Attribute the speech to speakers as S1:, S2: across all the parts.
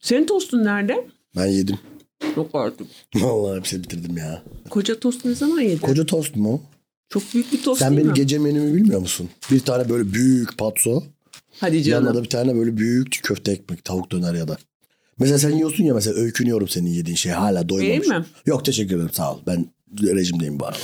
S1: Senin tostun nerede?
S2: Ben yedim.
S1: Yok artık.
S2: Vallahi hepsini bitirdim ya.
S1: Koca tost ne zaman yedin?
S2: Koca tost mu?
S1: Çok büyük bir tost
S2: Sen
S1: değil
S2: benim
S1: mi?
S2: gece menümü bilmiyor musun? Bir tane böyle büyük patso.
S1: Hadi
S2: Yanına da
S1: canım.
S2: bir tane böyle büyük köfte ekmek, tavuk döner ya da. Mesela sen yiyorsun ya mesela öykünüyorum senin yediğin şey hala doymamış.
S1: Değil mi?
S2: Yok teşekkür ederim sağ ol. Ben rejimdeyim bu arada.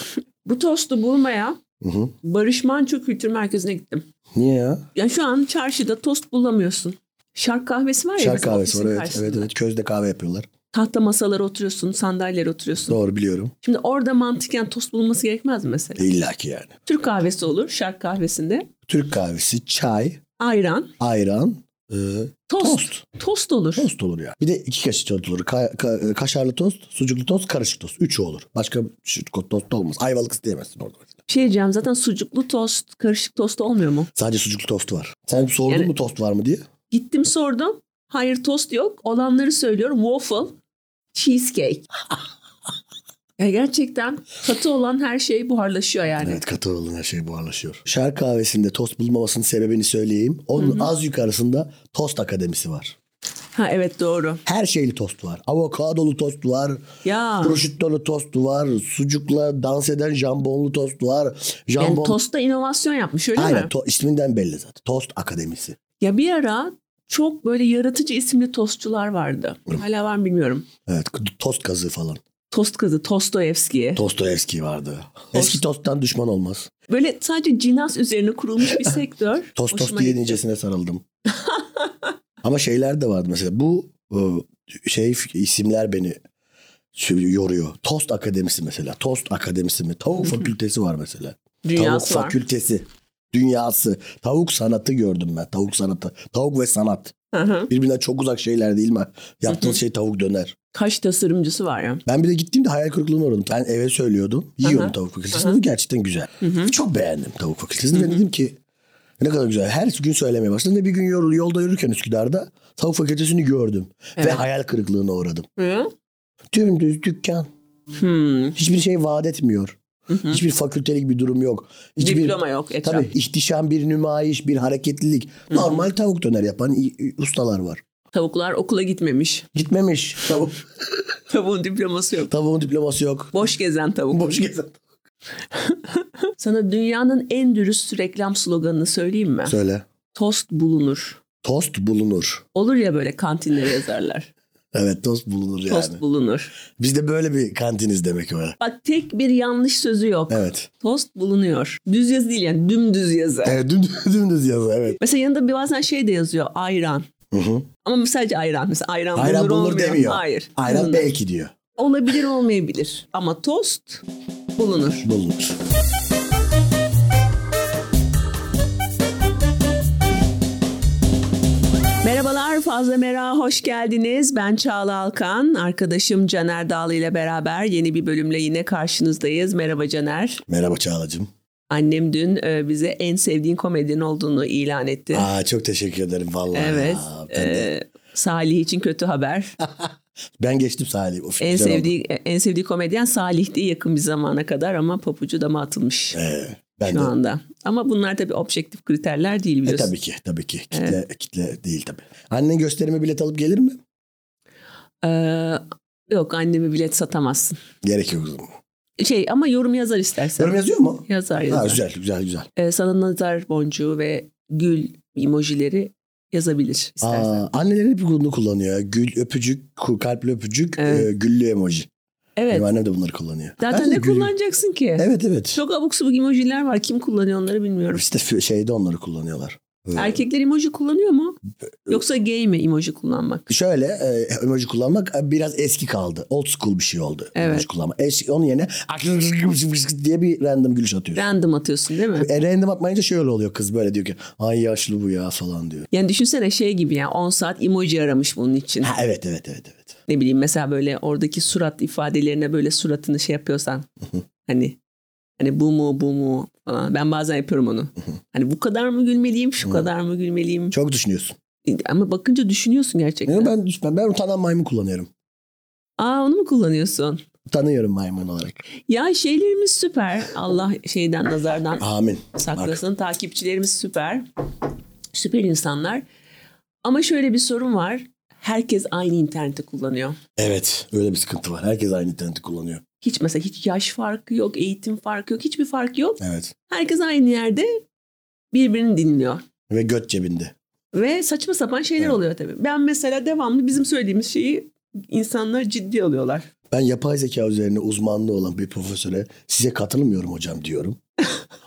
S1: Bu tostu bulmaya
S2: Hı hı.
S1: Barış Manço Kültür Merkezi'ne gittim.
S2: Niye ya?
S1: Ya şu an çarşıda tost bulamıyorsun. Şark kahvesi var ya.
S2: Şark
S1: bizim
S2: kahvesi var
S1: ofisin
S2: evet,
S1: karşısında.
S2: evet evet. Közde kahve yapıyorlar.
S1: Tahta masalara oturuyorsun, sandalyelere oturuyorsun.
S2: Doğru biliyorum.
S1: Şimdi orada mantıken tost bulunması gerekmez mi mesela.
S2: E, İlla ki yani.
S1: Türk kahvesi olur şark kahvesinde.
S2: Türk kahvesi, çay,
S1: Ayran,
S2: ayran, e,
S1: tost. Tost,
S2: tost.
S1: olur.
S2: Tost olur ya. Bir de iki kaşık tost olur. Ka- ka- e, kaşarlı tost, sucuklu tost, karışık tost. Üçü olur. Başka şu- tost da olmaz. Ayvalık isteyemezsin orada. mesela.
S1: Bir şey diyeceğim zaten sucuklu tost, karışık tost olmuyor mu?
S2: Sadece sucuklu tost var. Sen sordun
S1: Yani-
S2: mu tost var mı diye?
S1: Gittim sordum. Hayır tost yok. Olanları söylüyorum. Waffle, cheesecake. ya gerçekten katı olan her şey buharlaşıyor yani.
S2: Evet katı olan her şey buharlaşıyor. Şark kahvesinde tost bulmamasının sebebini söyleyeyim. Onun az yukarısında tost akademisi var.
S1: Ha evet doğru.
S2: Her şeyli tost var. Avokadolu tost var.
S1: Ya
S2: Prosciutto'lu tost var. Sucukla dans eden jambonlu tost var.
S1: yani
S2: Jambon...
S1: tosta inovasyon yapmış öyle
S2: Aynen
S1: mi?
S2: to- isminden belli zaten. Tost akademisi.
S1: Ya bir ara çok böyle yaratıcı isimli tostçular vardı. Hala var mı bilmiyorum.
S2: Evet tost kazığı falan.
S1: Tost kızı Tostoyevski'ye.
S2: Tostoyevski vardı. Eski tosttan düşman olmaz.
S1: Böyle sadece cinas üzerine kurulmuş bir sektör.
S2: Tost tost
S1: Hoşuma
S2: diye
S1: gitti.
S2: nicesine sarıldım. Ama şeyler de vardı mesela. Bu e, şey isimler beni şu- yoruyor. Tost Akademisi mesela. Tost Akademisi mi? Tavuk Fakültesi var mesela.
S1: Dünyası
S2: Tavuk
S1: var.
S2: Fakültesi. Dünyası. Tavuk sanatı gördüm ben. Tavuk sanatı. Tavuk ve sanat.
S1: Hı hı.
S2: Birbirinden çok uzak şeyler değil mi? Yaptığınız şey tavuk döner.
S1: Kaç tasarımcısı var ya.
S2: Ben bir de gittiğimde hayal kırıklığına uğradım. Ben eve söylüyordum. Yiyorum
S1: Aha.
S2: tavuk fakültesini. Gerçekten güzel. Çok beğendim tavuk fakültesini. Ve dedim ki ne kadar güzel. Her gün söylemeye başladım. Ve bir gün yol- yolda yürürken Üsküdar'da tavuk fakültesini gördüm. Ve
S1: Evet.
S2: hayal kırıklığına uğradım.
S1: Hı?
S2: Dümdüz dükkan.
S1: Hmm.
S2: Hiçbir şey vaat etmiyor. Hiçbir fakültelik bir durum yok. Hiçbir,
S1: Diploma yok etraf.
S2: Tabii ihtişam bir nümayiş, bir hareketlilik. Normal tavuk döner yapan i- i- ustalar var.
S1: Tavuklar okula gitmemiş.
S2: Gitmemiş. Tavuk,
S1: Tavuğun diploması yok.
S2: tavuğun diploması yok.
S1: Boş gezen tavuk.
S2: Boş gezen.
S1: Sana dünyanın en dürüst reklam sloganını söyleyeyim mi?
S2: Söyle.
S1: Tost bulunur.
S2: Tost bulunur.
S1: Olur ya böyle kantinlere yazarlar.
S2: Evet tost bulunur yani.
S1: Tost bulunur.
S2: Bizde böyle bir kantiniz demek öyle.
S1: Bak tek bir yanlış sözü yok.
S2: Evet.
S1: Tost bulunuyor. Düz yazı değil yani dümdüz yazı.
S2: Evet dümdüz, dümdüz yazı evet.
S1: Mesela yanında bir bazen şey de yazıyor ayran.
S2: Hı hı.
S1: Ama sadece ayran. Mesela ayran,
S2: Ayran
S1: bulunur,
S2: bulunur
S1: olmuyor.
S2: demiyor.
S1: Hayır.
S2: Ayran
S1: Bulunur.
S2: belki diyor.
S1: Olabilir olmayabilir. Ama tost bulunur.
S2: Bulunur.
S1: Merhabalar Fazla Mera hoş geldiniz. Ben Çağla Alkan. Arkadaşım Caner Dağlı ile beraber yeni bir bölümle yine karşınızdayız. Merhaba Caner.
S2: Merhaba Çağla'cığım.
S1: Annem dün e, bize en sevdiğin komedyen olduğunu ilan etti.
S2: Aa çok teşekkür ederim vallahi.
S1: evet.
S2: ya. Ben, de-
S1: e, Salih için kötü haber.
S2: ben geçtim Salih. Of,
S1: En
S2: güzel oldu.
S1: sevdiği en sevdiği komedyen Salih'ti yakın bir zamana kadar ama papucu dama atılmış
S2: Ee, ben
S1: şu
S2: de.
S1: anda. Ama bunlar tabii objektif kriterler değil
S2: E,
S1: biliyorsun.
S2: tabii ki tabii ki. Kitle, kitle değil tabii. Annen gösterime bilet alıp gelir mi?
S1: Ee, yok annemi bilet satamazsın.
S2: Gerek yok. o zaman.
S1: Şey ama yorum yazar istersen.
S2: Yorum yazıyor mu?
S1: Yazar
S2: Ha,
S1: yazar.
S2: güzel güzel güzel.
S1: Ee, sana nazar boncuğu ve gül emojileri yazabilir istersen.
S2: Aa, anneler hep bunu kullanıyor. ya. Gül öpücük, ku- kalpli öpücük,
S1: Evet.
S2: e, güllü emoji.
S1: evet.
S2: Benim annem de bunları kullanıyor.
S1: Zaten
S2: Ben de
S1: ne
S2: gül-
S1: kullanacaksın ki?
S2: Evet evet.
S1: Çok abuk subuk emojiler var. Kim kullanıyor onları bilmiyorum.
S2: İşte f- şeyde onları kullanıyorlar. Ee,
S1: Erkekler emoji kullanıyor mu? Yoksa gay mi emoji kullanmak?
S2: Şöyle e, emoji kullanmak e, biraz eski kaldı. Old school bir şey oldu.
S1: Evet.
S2: Emoji kullanmak. Eski, onun yerine diye bir random gülüş atıyorsun.
S1: Random atıyorsun değil mi?
S2: E, random atmayınca şöyle oluyor kız böyle diyor ki ay yaşlı bu ya falan diyor.
S1: Yani düşünsene şey gibi ya 10 saat emoji aramış bunun için.
S2: Ha, evet evet evet evet.
S1: Ne bileyim mesela böyle oradaki surat ifadelerine böyle suratını şey yapıyorsan. hani hani bu mu bu mu falan. Ben bazen yapıyorum onu. hani bu kadar mı gülmeliyim şu kadar mı gülmeliyim.
S2: Çok düşünüyorsun.
S1: Ama bakınca düşünüyorsun gerçekten.
S2: Yani ben, ben, ben utanan maymun kullanıyorum.
S1: Aa onu mu kullanıyorsun?
S2: Utanıyorum maymun olarak.
S1: Ya şeylerimiz süper. Allah şeyden nazardan
S2: Amin.
S1: saklasın. Takipçilerimiz süper. Süper insanlar. Ama şöyle bir sorun var. herkes aynı interneti kullanıyor.
S2: Evet öyle bir sıkıntı var. Herkes aynı interneti kullanıyor.
S1: Hiç mesela hiç yaş farkı yok, eğitim farkı yok, hiçbir fark yok.
S2: Evet.
S1: Herkes aynı yerde birbirini dinliyor.
S2: Ve göt cebinde.
S1: Ve saçma sapan şeyler
S2: Evet.
S1: oluyor tabii. Ben mesela devamlı bizim söylediğimiz şeyi insanlar ciddi alıyorlar.
S2: Ben yapay zeka üzerine uzmanlığı olan bir profesöre size katılmıyorum hocam diyorum.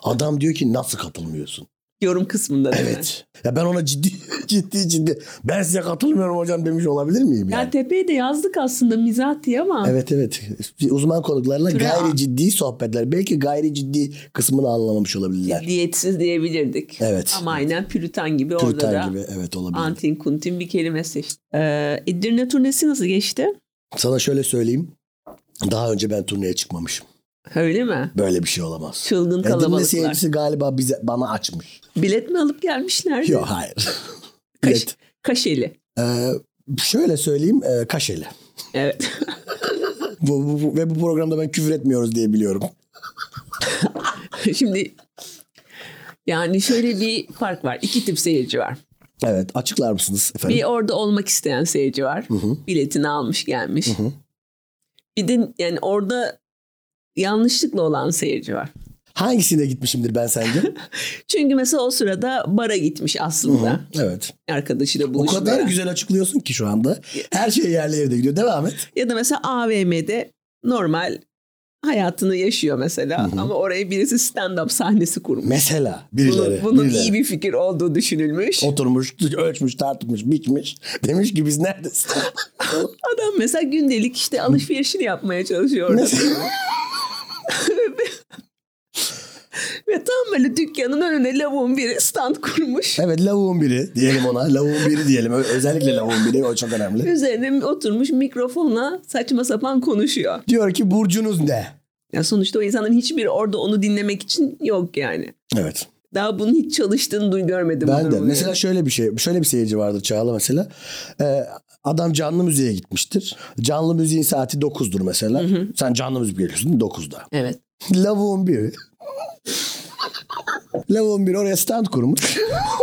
S2: Adam diyor ki nasıl katılmıyorsun?
S1: Yorum kısmında değil mi?
S2: Evet. Ya ben ona ciddi ciddi ciddi ben size katılmıyorum hocam demiş olabilir miyim
S1: Ya
S2: yani?
S1: tepeye de yazdık aslında mizah diye ama
S2: Evet evet. Uzman konuklarla
S1: Tura-
S2: gayri ciddi sohbetler. Belki gayri ciddi kısmını anlamamış olabilirler.
S1: diyetsiz diyebilirdik.
S2: Evet.
S1: Ama aynen pürütan gibi orada da
S2: Püriten gibi evet olabilir.
S1: antin kuntin bir kelimesi işte. Ee, Edirne turnesi nasıl geçti?
S2: Sana şöyle söyleyeyim. Daha önce ben turneye çıkmamışım.
S1: Öyle mi?
S2: Böyle bir şey olamaz.
S1: Çılgın
S2: Edirne
S1: kalabalıklar.
S2: seyircisi galiba bize bana açmış.
S1: Bilet mi alıp gelmişler?
S2: Yok hayır.
S1: Kaş-
S2: Evet.
S1: Kaşeli.
S2: Ee, şöyle söyleyeyim e, Kaşeli.
S1: Evet.
S2: Bu, bu- bu- ve bu programda ben küfür etmiyoruz diye biliyorum.
S1: Şimdi yani şöyle bir fark var. İki tip seyirci var.
S2: Evet açıklar mısınız efendim?
S1: Bir orada olmak isteyen seyirci var.
S2: hı.
S1: Biletini almış gelmiş.
S2: hı.
S1: Bir de yani orada yanlışlıkla olan seyirci var.
S2: Hangisine gitmişimdir ben sence?
S1: Çünkü mesela o sırada bara gitmiş aslında.
S2: evet.
S1: Arkadaşıyla
S2: O
S1: buluşmaya.
S2: kadar güzel açıklıyorsun ki şu anda. Her şey yerli yerinde gidiyor. Devam et.
S1: Ya da mesela AVM'de normal hayatını yaşıyor mesela. Ama oraya birisi stand-up sahnesi kurmuş.
S2: Mesela
S1: Bunun,
S2: birileri.
S1: bunun
S2: birileri.
S1: iyi bir fikir olduğu düşünülmüş.
S2: Oturmuş, ölçmüş, tartmış, biçmiş. Demiş ki biz neredesin?
S1: Adam mesela gündelik işte alışverişini yapmaya çalışıyor orada.
S2: Mesela-
S1: Ve tam böyle dükkanın önüne lavuğun biri stand kurmuş.
S2: evet lavuğun biri diyelim ona. Lavuğun biri diyelim. Ö- Özellikle lavuğun biri. O çok önemli.
S1: Üzerine oturmuş mikrofonla saçma sapan konuşuyor.
S2: Diyor ki burcunuz ne?
S1: Ya sonuçta o insanların hiçbiri orada onu dinlemek için yok yani.
S2: Evet.
S1: Daha bunun hiç çalıştığını duy görmedim. bu
S2: Ben de.
S1: durumda.
S2: Mesela şöyle bir şey, şöyle bir seyirci vardır Çağla mesela. Ee, adam canlı müziğe gitmiştir. Canlı müziğin saati 9'dur mesela. Sen canlı müzik geliyorsun 9'da.
S1: Evet.
S2: Lavuğun biri. Lavuğun biri oraya stand kurmuş.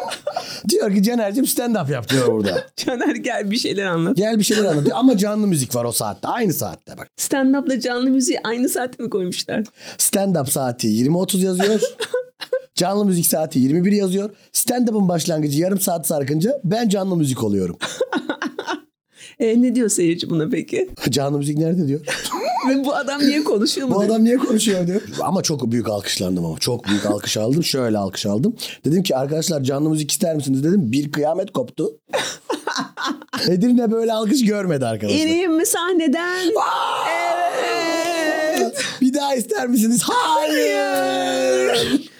S2: diyor ki Caner'cim stand up yap diyor orada.
S1: Caner gel bir şeyler anlat.
S2: Gel bir şeyler anlat. diyor. Ama canlı müzik var o saatte. Aynı saatte bak.
S1: Stand up'la canlı müziği aynı saate mi koymuşlar?
S2: Stand up saati 20.30 yazıyor. Canlı müzik saati 21 yazıyor. Stand-up'ın başlangıcı yarım saat sarkınca ben canlı müzik oluyorum.
S1: E, ne diyor seyirci buna peki?
S2: Canlı müzik nerede diyor.
S1: Ve bu adam niye konuşuyor mu?
S2: Bu
S1: dedi.
S2: adam niye konuşuyor diyor. Ama çok büyük alkışlandım ama. Çok büyük alkış aldım. Şöyle alkış aldım. Dedim ki arkadaşlar canlı müzik ister misiniz dedim. Bir kıyamet koptu. Edirne böyle alkış görmedi arkadaşlar.
S1: İneyim mi sahneden?
S2: Bir daha ister misiniz? Hayır.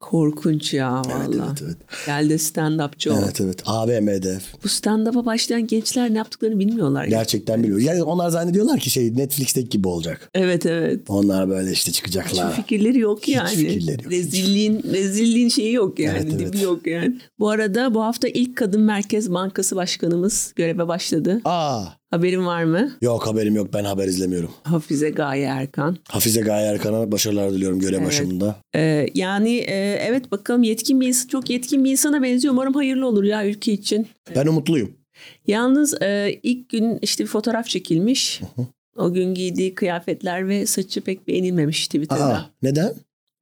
S1: Korkunç ya valla.
S2: evet, evet.
S1: Gel de stand-upçı ol.
S2: evet evet. AVM'de.
S1: Bu stand-up'a başlayan gençler ne yaptıklarını bilmiyorlar. ya.
S2: Gerçekten biliyor. Yani onlar zannediyorlar ki şey Netflix'teki gibi olacak.
S1: Evet evet.
S2: Onlar böyle işte
S1: Hiçbir
S2: çıkacaklar.
S1: fikirleri yok yani.
S2: fikirleri yok.
S1: Rezilliğin, rezilliğin şeyi yok yani.
S2: Evet, evet.
S1: Dibi yok yani. Bu arada bu hafta ilk kadın merkez bankası başkanımız göreve başladı.
S2: Aa.
S1: Haberin var mı?
S2: Yok haberim yok. Ben haber izlemiyorum.
S1: Hafize Gaye Erkan.
S2: Hafize Gaye Erkan'a başarılar diliyorum görev
S1: Evet.
S2: başımında.
S1: Ee, yani e, evet bakalım yetkin bir insan, çok yetkin bir insana benziyor. Umarım hayırlı olur ya ülke için.
S2: Ben umutluyum.
S1: Yalnız e, ilk gün işte bir fotoğraf çekilmiş. O gün giydiği kıyafetler ve saçı pek beğenilmemiş Twitter'da.
S2: Aa, neden?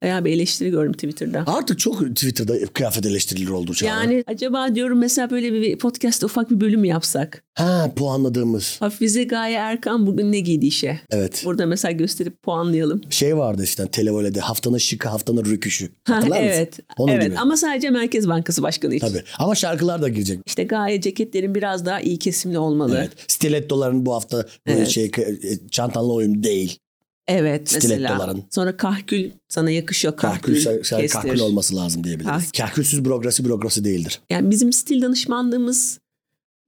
S1: Bayağı bir eleştiri gördüm Twitter'da.
S2: Artık çok Twitter'da kıyafet eleştirilir oldu çağla.
S1: Yani acaba diyorum mesela böyle bir podcast'ta ufak bir bölüm yapsak.
S2: Ha puanladığımız.
S1: Hafize Gaye Erkan bugün ne giydi işe?
S2: Evet.
S1: Burada mesela gösterip puanlayalım.
S2: Şey vardı işte Televole'de haftanın şıkı haftanın rüküşü.
S1: Ha,
S2: Hatırlar mısın?
S1: evet.
S2: Onun
S1: evet
S2: gibi.
S1: ama sadece Merkez Bankası Başkanı için.
S2: Tabii. Ama şarkılar da girecek.
S1: İşte Gaye ceketlerin biraz daha iyi kesimli olmalı.
S2: Evet. Stilettoların bu hafta
S1: Evet.
S2: şey e, çantanla uyum değil.
S1: Evet mesela.
S2: Stilettoların.
S1: Sonra kahkül sana yakışıyor kahkül,
S2: Kahkül, şar- şar-
S1: kestir.
S2: kahkül olması lazım diyebiliriz.
S1: Kah-
S2: Kahkülsüz bürokrasi bürokrasi değildir.
S1: Yani bizim stil danışmanlığımız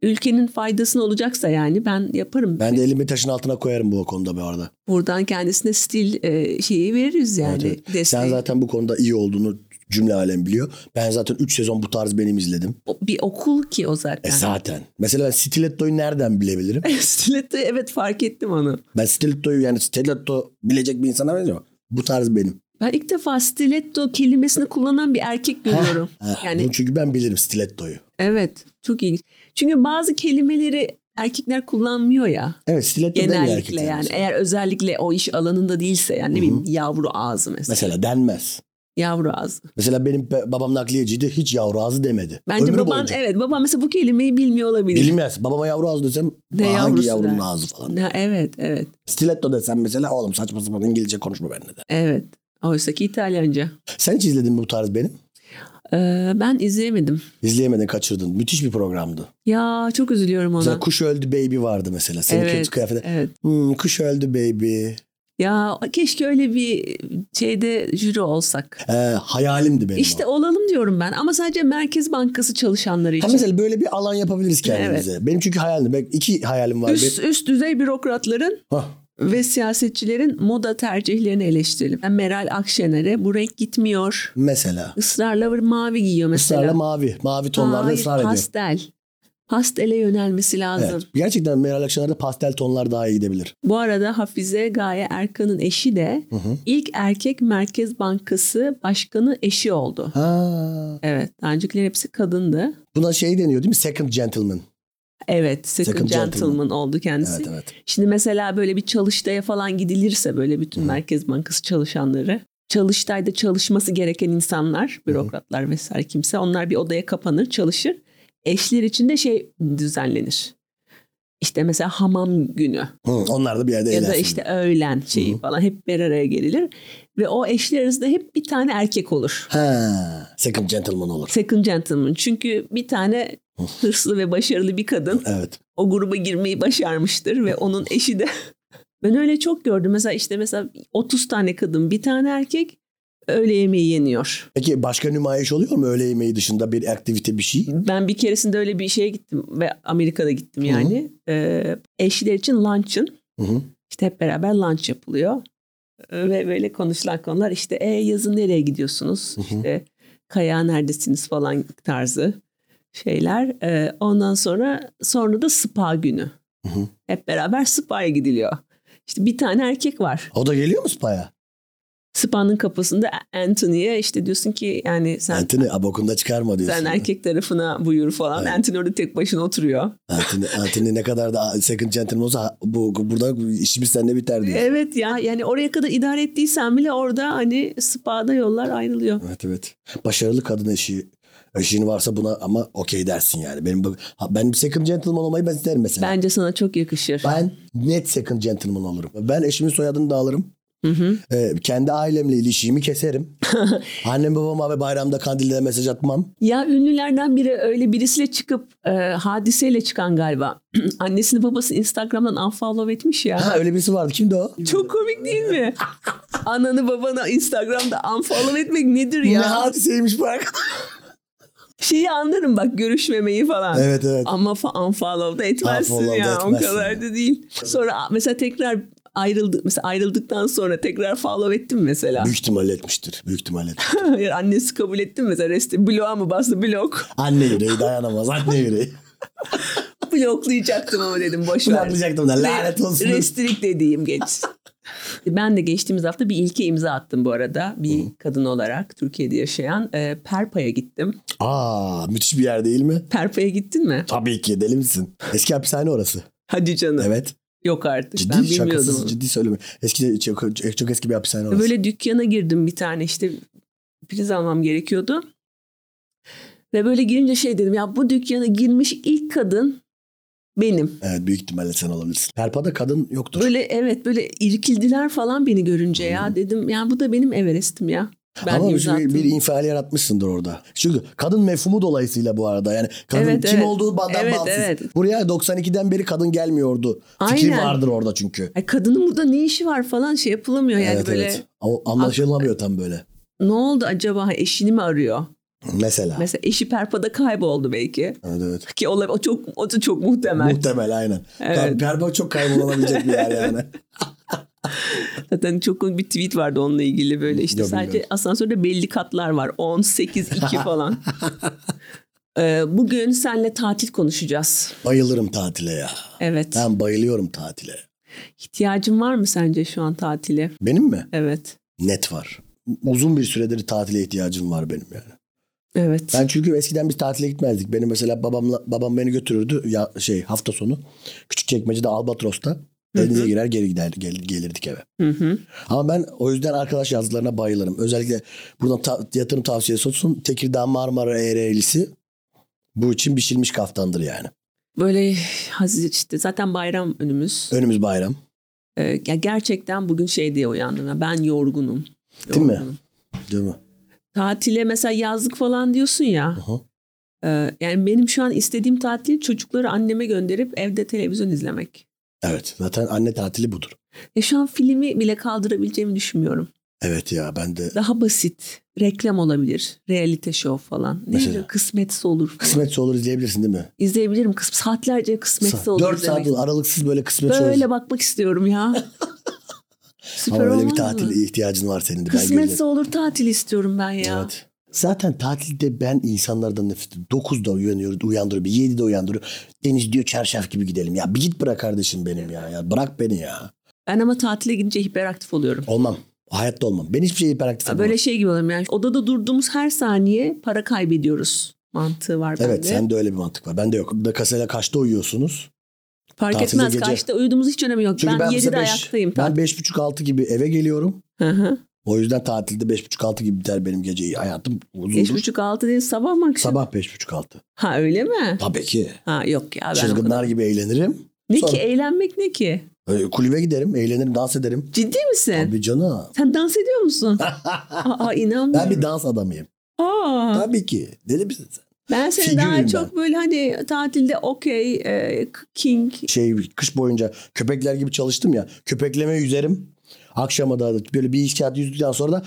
S1: ülkenin faydasına olacaksa yani ben yaparım.
S2: Ben de elimi taşın altına koyarım bu konuda bu arada.
S1: Buradan kendisine stil e, şeyi veririz yani.
S2: Evet, evet.
S1: desteği.
S2: Sen zaten bu konuda iyi olduğunu cümle alem biliyor. Ben zaten 3 sezon bu tarz benim izledim.
S1: O- Bir okul ki o
S2: E
S1: zaten.
S2: zaten. Mesela ben stilettoyu nereden bilebilirim?
S1: Stiletto evet fark ettim onu.
S2: Ben stilettoyu yani stiletto bilecek bir insana benziyor. Bu tarz benim.
S1: Ben ilk defa stiletto kelimesini kullanan bir erkek görüyorum.
S2: Ha,
S1: yani
S2: bunu çünkü ben bilirim stilettoyu.
S1: evet çok ilginç. Çünkü bazı kelimeleri erkekler kullanmıyor ya.
S2: Evet stiletto demiyor
S1: Genellikle
S2: erkekler
S1: yani.
S2: mesela.
S1: Eğer özellikle o iş alanında değilse yani ne bileyim yavru ağzı mesela.
S2: Mesela denmez.
S1: Yavru ağzı.
S2: Mesela benim pe- babam nakliyeciydi hiç yavru ağzı demedi.
S1: Bence
S2: Ömrü
S1: baban
S2: boyunca.
S1: evet baban mesela bu kelimeyi bilmiyor olabilir.
S2: Bilmez. Babama yavru ağzı desem
S1: Ne
S2: "Aa, hangi
S1: yavrusu
S2: yavrunun
S1: der?"
S2: ağzı falan.
S1: Ne- evet evet
S2: Stiletto desem mesela oğlum saçma sapan İngilizce konuşma benimle de.
S1: evet. Oysa ki İtalyanca.
S2: Sen hiç izledin mi bu tarz benim?
S1: Ee, ben izleyemedim.
S2: İzleyemedin kaçırdın. Müthiş bir programdı.
S1: Ya çok üzülüyorum ona.
S2: Mesela kuş öldü baby vardı mesela. Senin
S1: evet,
S2: kötü kıyafetler.
S1: evet.
S2: Hmm, kuş öldü baby.
S1: Ya keşke öyle bir şeyde jüri olsak.
S2: Ee, hayalimdi benim
S1: İşte
S2: o.
S1: olalım diyorum ben ama sadece Merkez Bankası çalışanları
S2: Ha,
S1: için.
S2: mesela böyle bir alan yapabiliriz kendimize. Benim çünkü hayalim. Ben iki hayalim var.
S1: üst, üst düzey bürokratların
S2: Bir- Hah.
S1: ve siyasetçilerin moda tercihlerini eleştirelim. Ben Meral Akşener'e bu renk gitmiyor.
S2: Mesela.
S1: Israrla mavi giyiyor mesela.
S2: Israrla mavi. Mavi tonlarda
S1: Hayır,
S2: ısrar ediyor.
S1: pastel. Pastele yönelmesi lazım.
S2: Evet. Gerçekten Meral Akşener'de pastel tonlar daha iyi gidebilir.
S1: Bu arada Hafize Gaye Erkan'ın eşi de
S2: Hı hı.
S1: ilk erkek Merkez Bankası Başkanı eşi oldu.
S2: Ha.
S1: Evet. Daha öncekiler hepsi kadındı.
S2: Buna şey deniyor değil mi? Second gentleman.
S1: Evet. Second,
S2: Second
S1: gentleman.
S2: gentleman.
S1: oldu kendisi.
S2: Evet evet.
S1: Şimdi mesela böyle bir çalıştaya falan gidilirse böyle bütün Merkez Bankası çalışanları çalıştayda çalışması gereken insanlar, bürokratlar vesaire kimse onlar bir odaya kapanır, çalışır. Eşler için de şey düzenlenir. İşte mesela hamam günü
S2: Hı, onlar da bir yerde
S1: ya da
S2: eğlensin.
S1: işte öğlen şeyi falan hep bir araya gelilir ve o eşler arasında hep bir tane erkek olur.
S2: Ha. Second gentleman olur.
S1: Second gentleman. Çünkü bir tane hırslı ve başarılı bir kadın
S2: Evet.
S1: o gruba girmeyi başarmıştır ve onun eşi de ben öyle çok gördüm. Mesela işte mesela 30 tane kadın, bir tane erkek öğle yemeği yeniyor.
S2: Peki başka nümayiş oluyor mu öğle yemeği dışında bir aktivite bir şey?
S1: Ben bir keresinde öyle bir şeye gittim ve Amerika'da gittim yani. Ee, eşler için luncheon.
S2: Hı hı.
S1: İşte hep beraber lunch yapılıyor. Ee, Ve böyle konuşulan konular işte e, yazın nereye gidiyorsunuz?
S2: Hı hı.
S1: İşte kayağa neredesiniz falan tarzı şeyler. Ee, Ondan sonra sonra da spa günü.
S2: Hı hı.
S1: Hep beraber spa'ya gidiliyor. İşte bir tane erkek var.
S2: O da geliyor mu spa'ya?
S1: Spa'nın kapısında Anthony'ye işte diyorsun ki yani sen
S2: Antony abokunda çıkarma diyorsun.
S1: sen erkek tarafına buyur falan.
S2: Evet.
S1: Anthony orada tek başına oturuyor.
S2: Antony, Antony ne kadar da second gentleman olsa bu, burada işimiz seninle biter diyor.
S1: Evet ya yani oraya kadar idare ettiysen bile orada hani spa'da yollar ayrılıyor.
S2: Evet evet. Başarılı kadın eşi eşin varsa buna ama okey dersin yani. Benim bu- ha, ben second gentleman olmayı ben isterim mesela.
S1: Bence sana çok yakışır.
S2: Ben net second gentleman olurum. Ben eşimin soyadını da alırım.
S1: Hı hı.
S2: Ee, kendi ailemle ilişiğimi keserim. Annem babama ve bayramda kandillere mesaj atmam.
S1: Ya ünlülerden biri öyle birisiyle çıkıp e, hadiseyle çıkan galiba. Annesini babasını Instagram'dan unfollow etmiş ya.
S2: Ha öyle birisi vardı. Kimdi o?
S1: Çok komik değil mi? Ananı babanı Instagram'da unfollow etmek nedir
S2: Ne
S1: ya?
S2: hadiseymiş bu arkadaş.
S1: Şeyi anlarım bak görüşmemeyi falan.
S2: Evet evet.
S1: Ama fa- unfollow da etmezsin
S2: Unfollow da
S1: ya
S2: etmezsin.
S1: o kadar da değil. Sonra mesela tekrar ayrıldık mesela ayrıldıktan sonra tekrar follow ettim mesela.
S2: Büyük ihtimal etmiştir. Büyük ihtimal etmiştir.
S1: Yani Annesi kabul etti mi mesela resti bloğa mı bastı blok.
S2: Anne yüreği dayanamaz. Anne yüreği.
S1: Bloklayacaktım ama dedim boş ver.
S2: Bloklayacaktım da lanet olsun.
S1: Restrik dediğim geç. ben de geçtiğimiz hafta bir ilke imza attım bu arada. Bir kadın olarak Türkiye'de yaşayan e, Perpa'ya gittim.
S2: Aa müthiş bir yer değil mi?
S1: Perpa'ya gittin mi?
S2: Tabii ki deli misin? Eski hapishane orası.
S1: Hadi canım.
S2: Evet.
S1: Yok artık. ben
S2: Ciddi
S1: bilmiyordum.
S2: şakasız
S1: onu.
S2: ciddi söyleme. Eski çok, çok eski bir hapishane orası.
S1: Böyle dükkana girdim bir tane işte priz almam gerekiyordu. Ve böyle girince şey dedim ya bu dükkana girmiş ilk kadın benim.
S2: Evet büyük ihtimalle sen olabilirsin. Perpa'da kadın yoktur.
S1: Böyle evet böyle irkildiler falan beni görünce ya dedim ya bu da benim Everest'im ya. Ben
S2: Hmm. Ama
S1: imza
S2: bir, bir
S1: attım.
S2: infial yaratmışsındır orada. Çünkü kadın mefhumu dolayısıyla bu arada. Yani kadın
S1: Evet,
S2: kim
S1: evet.
S2: olduğu bandan
S1: Evet,
S2: bağımsız.
S1: evet.
S2: Buraya 92'den beri kadın gelmiyordu. Fikri
S1: Aynen.
S2: vardır orada çünkü.
S1: Ay kadının burada ne işi var falan şey yapılamıyor yani
S2: evet
S1: böyle.
S2: evet. O anlaşılamıyor tam böyle.
S1: Ne oldu acaba Ha, eşini mi arıyor?
S2: Mesela.
S1: Mesela eşi Perpa'da kayboldu belki.
S2: evet evet.
S1: Ki olabilir. O çok o da çok muhtemel.
S2: Muhtemel aynen.
S1: Evet.
S2: Perpa çok kaybolabilecek bir yer yani.
S1: Zaten çok komik bir tweet vardı onunla ilgili böyle işte
S2: Ya
S1: sadece
S2: bilmiyorum.
S1: asansörde belli katlar var. 10, 8, 2 falan. Ee, bugün senle tatil konuşacağız.
S2: Bayılırım tatile ya.
S1: Evet.
S2: Ben bayılıyorum tatile.
S1: İhtiyacın var mı sence şu an tatile?
S2: Benim mi?
S1: Evet.
S2: Net var. Uzun bir süredir tatile ihtiyacım var benim yani.
S1: Evet.
S2: Ben çünkü eskiden biz tatile gitmezdik. Beni mesela babamla babam beni götürürdü ya şey hafta sonu Küçükçekmece'de Albatros'ta denize girer geri gider gel- gelirdik eve.
S1: Hı hı.
S2: Ama ben o yüzden arkadaş yazdılarına bayılırım. Özellikle buradan ta- yatırım tavsiyesi olsun. Tekirdağ Marmara Ereğlisi bu için biçilmiş kaftandır yani.
S1: Böyle hazır işte zaten bayram önümüz.
S2: Önümüz bayram.
S1: Ee, ya gerçekten bugün şey diye uyandım. ya, Ben yorgunum.
S2: Değil mi?
S1: Yorgunum.
S2: Değil mi?
S1: Tatile mesela yazlık falan diyorsun ya.
S2: Aha.
S1: Ee, yani benim şu an istediğim tatil çocukları anneme gönderip evde televizyon izlemek.
S2: Evet. Zaten anne tatili budur.
S1: E şu an filmi bile kaldırabileceğimi düşünmüyorum.
S2: Evet ya ben de
S1: Daha basit. Reklam olabilir. Realite show falan. Ne
S2: Mesela?
S1: bileyim, kısmetse olur.
S2: kısmetse olur izleyebilirsin değil mi?
S1: İzleyebilirim. Kıs- Saatlerce kısmetse olur.
S2: 4 saat
S1: izlemek.
S2: olur. Aralıksız böyle kısmetse olur.
S1: Böyle bakmak istiyorum ya. Süper
S2: Ama öyle bir
S1: olmaz
S2: tatil
S1: mı?
S2: ihtiyacın var senin de. Ben
S1: Kısmetse
S2: görüyorum.
S1: olur tatil istiyorum ben ya.
S2: Evet. Zaten tatilde ben insanlardan nefret ediyorum. 9'da uyanıyor, uyandırıyor. Bir 7'de uyandırıyor. Deniz diyor çarşaf gibi gidelim. Ya bir git bırak kardeşim benim ya. ya bırak beni ya.
S1: Ben ama tatile gidince hiperaktif oluyorum.
S2: Olmam. Hayatta olmam. Ben hiçbir şey hiperaktif edemem.
S1: Böyle şey gibi oluyorum yani odada durduğumuz her saniye para kaybediyoruz mantığı var şey bende.
S2: Evet sende öyle bir mantık var. Bende yok. Bir de kasayla kaçta uyuyorsunuz?
S1: Fark
S2: tatilde
S1: etmez
S2: gece-
S1: kaçta uyuduğumuz hiç önemi yok.
S2: Çünkü ben,
S1: ben
S2: mesela
S1: 7'de
S2: beş-
S1: ayaktayım.
S2: Ben 5.30-6 gibi eve geliyorum.
S1: Hı hı.
S2: O yüzden tatilde 5.30-6 gibi biter benim gece hayatım
S1: Beş
S2: uzundur.
S1: buçuk altı değil sabah mı akşam?
S2: Sabah 5.30-6.
S1: Ha öyle mi?
S2: Tabii ki.
S1: Ha yok ya ben o kadar.
S2: Çılgınlar gibi eğlenirim.
S1: Ne
S2: Sonra-
S1: ki eğlenmek ne ki?
S2: Ee, Kulübe giderim, eğlenirim, dans ederim.
S1: Ciddi misin?
S2: Tabii canım.
S1: Sen dans ediyor musun? Aa
S2: Ben
S1: inanmıyorum.
S2: bir dans adamıyım.
S1: Aa.
S2: Tabii ki. Deli misin sen?
S1: Ben seni daha
S2: Figürüyüm
S1: çok böyle hani tatilde okey, e, king.
S2: Şey kış boyunca köpekler gibi çalıştım ya. Köpekleme yüzerim. Akşama da böyle bir iki kağıt yüzdükten sonra da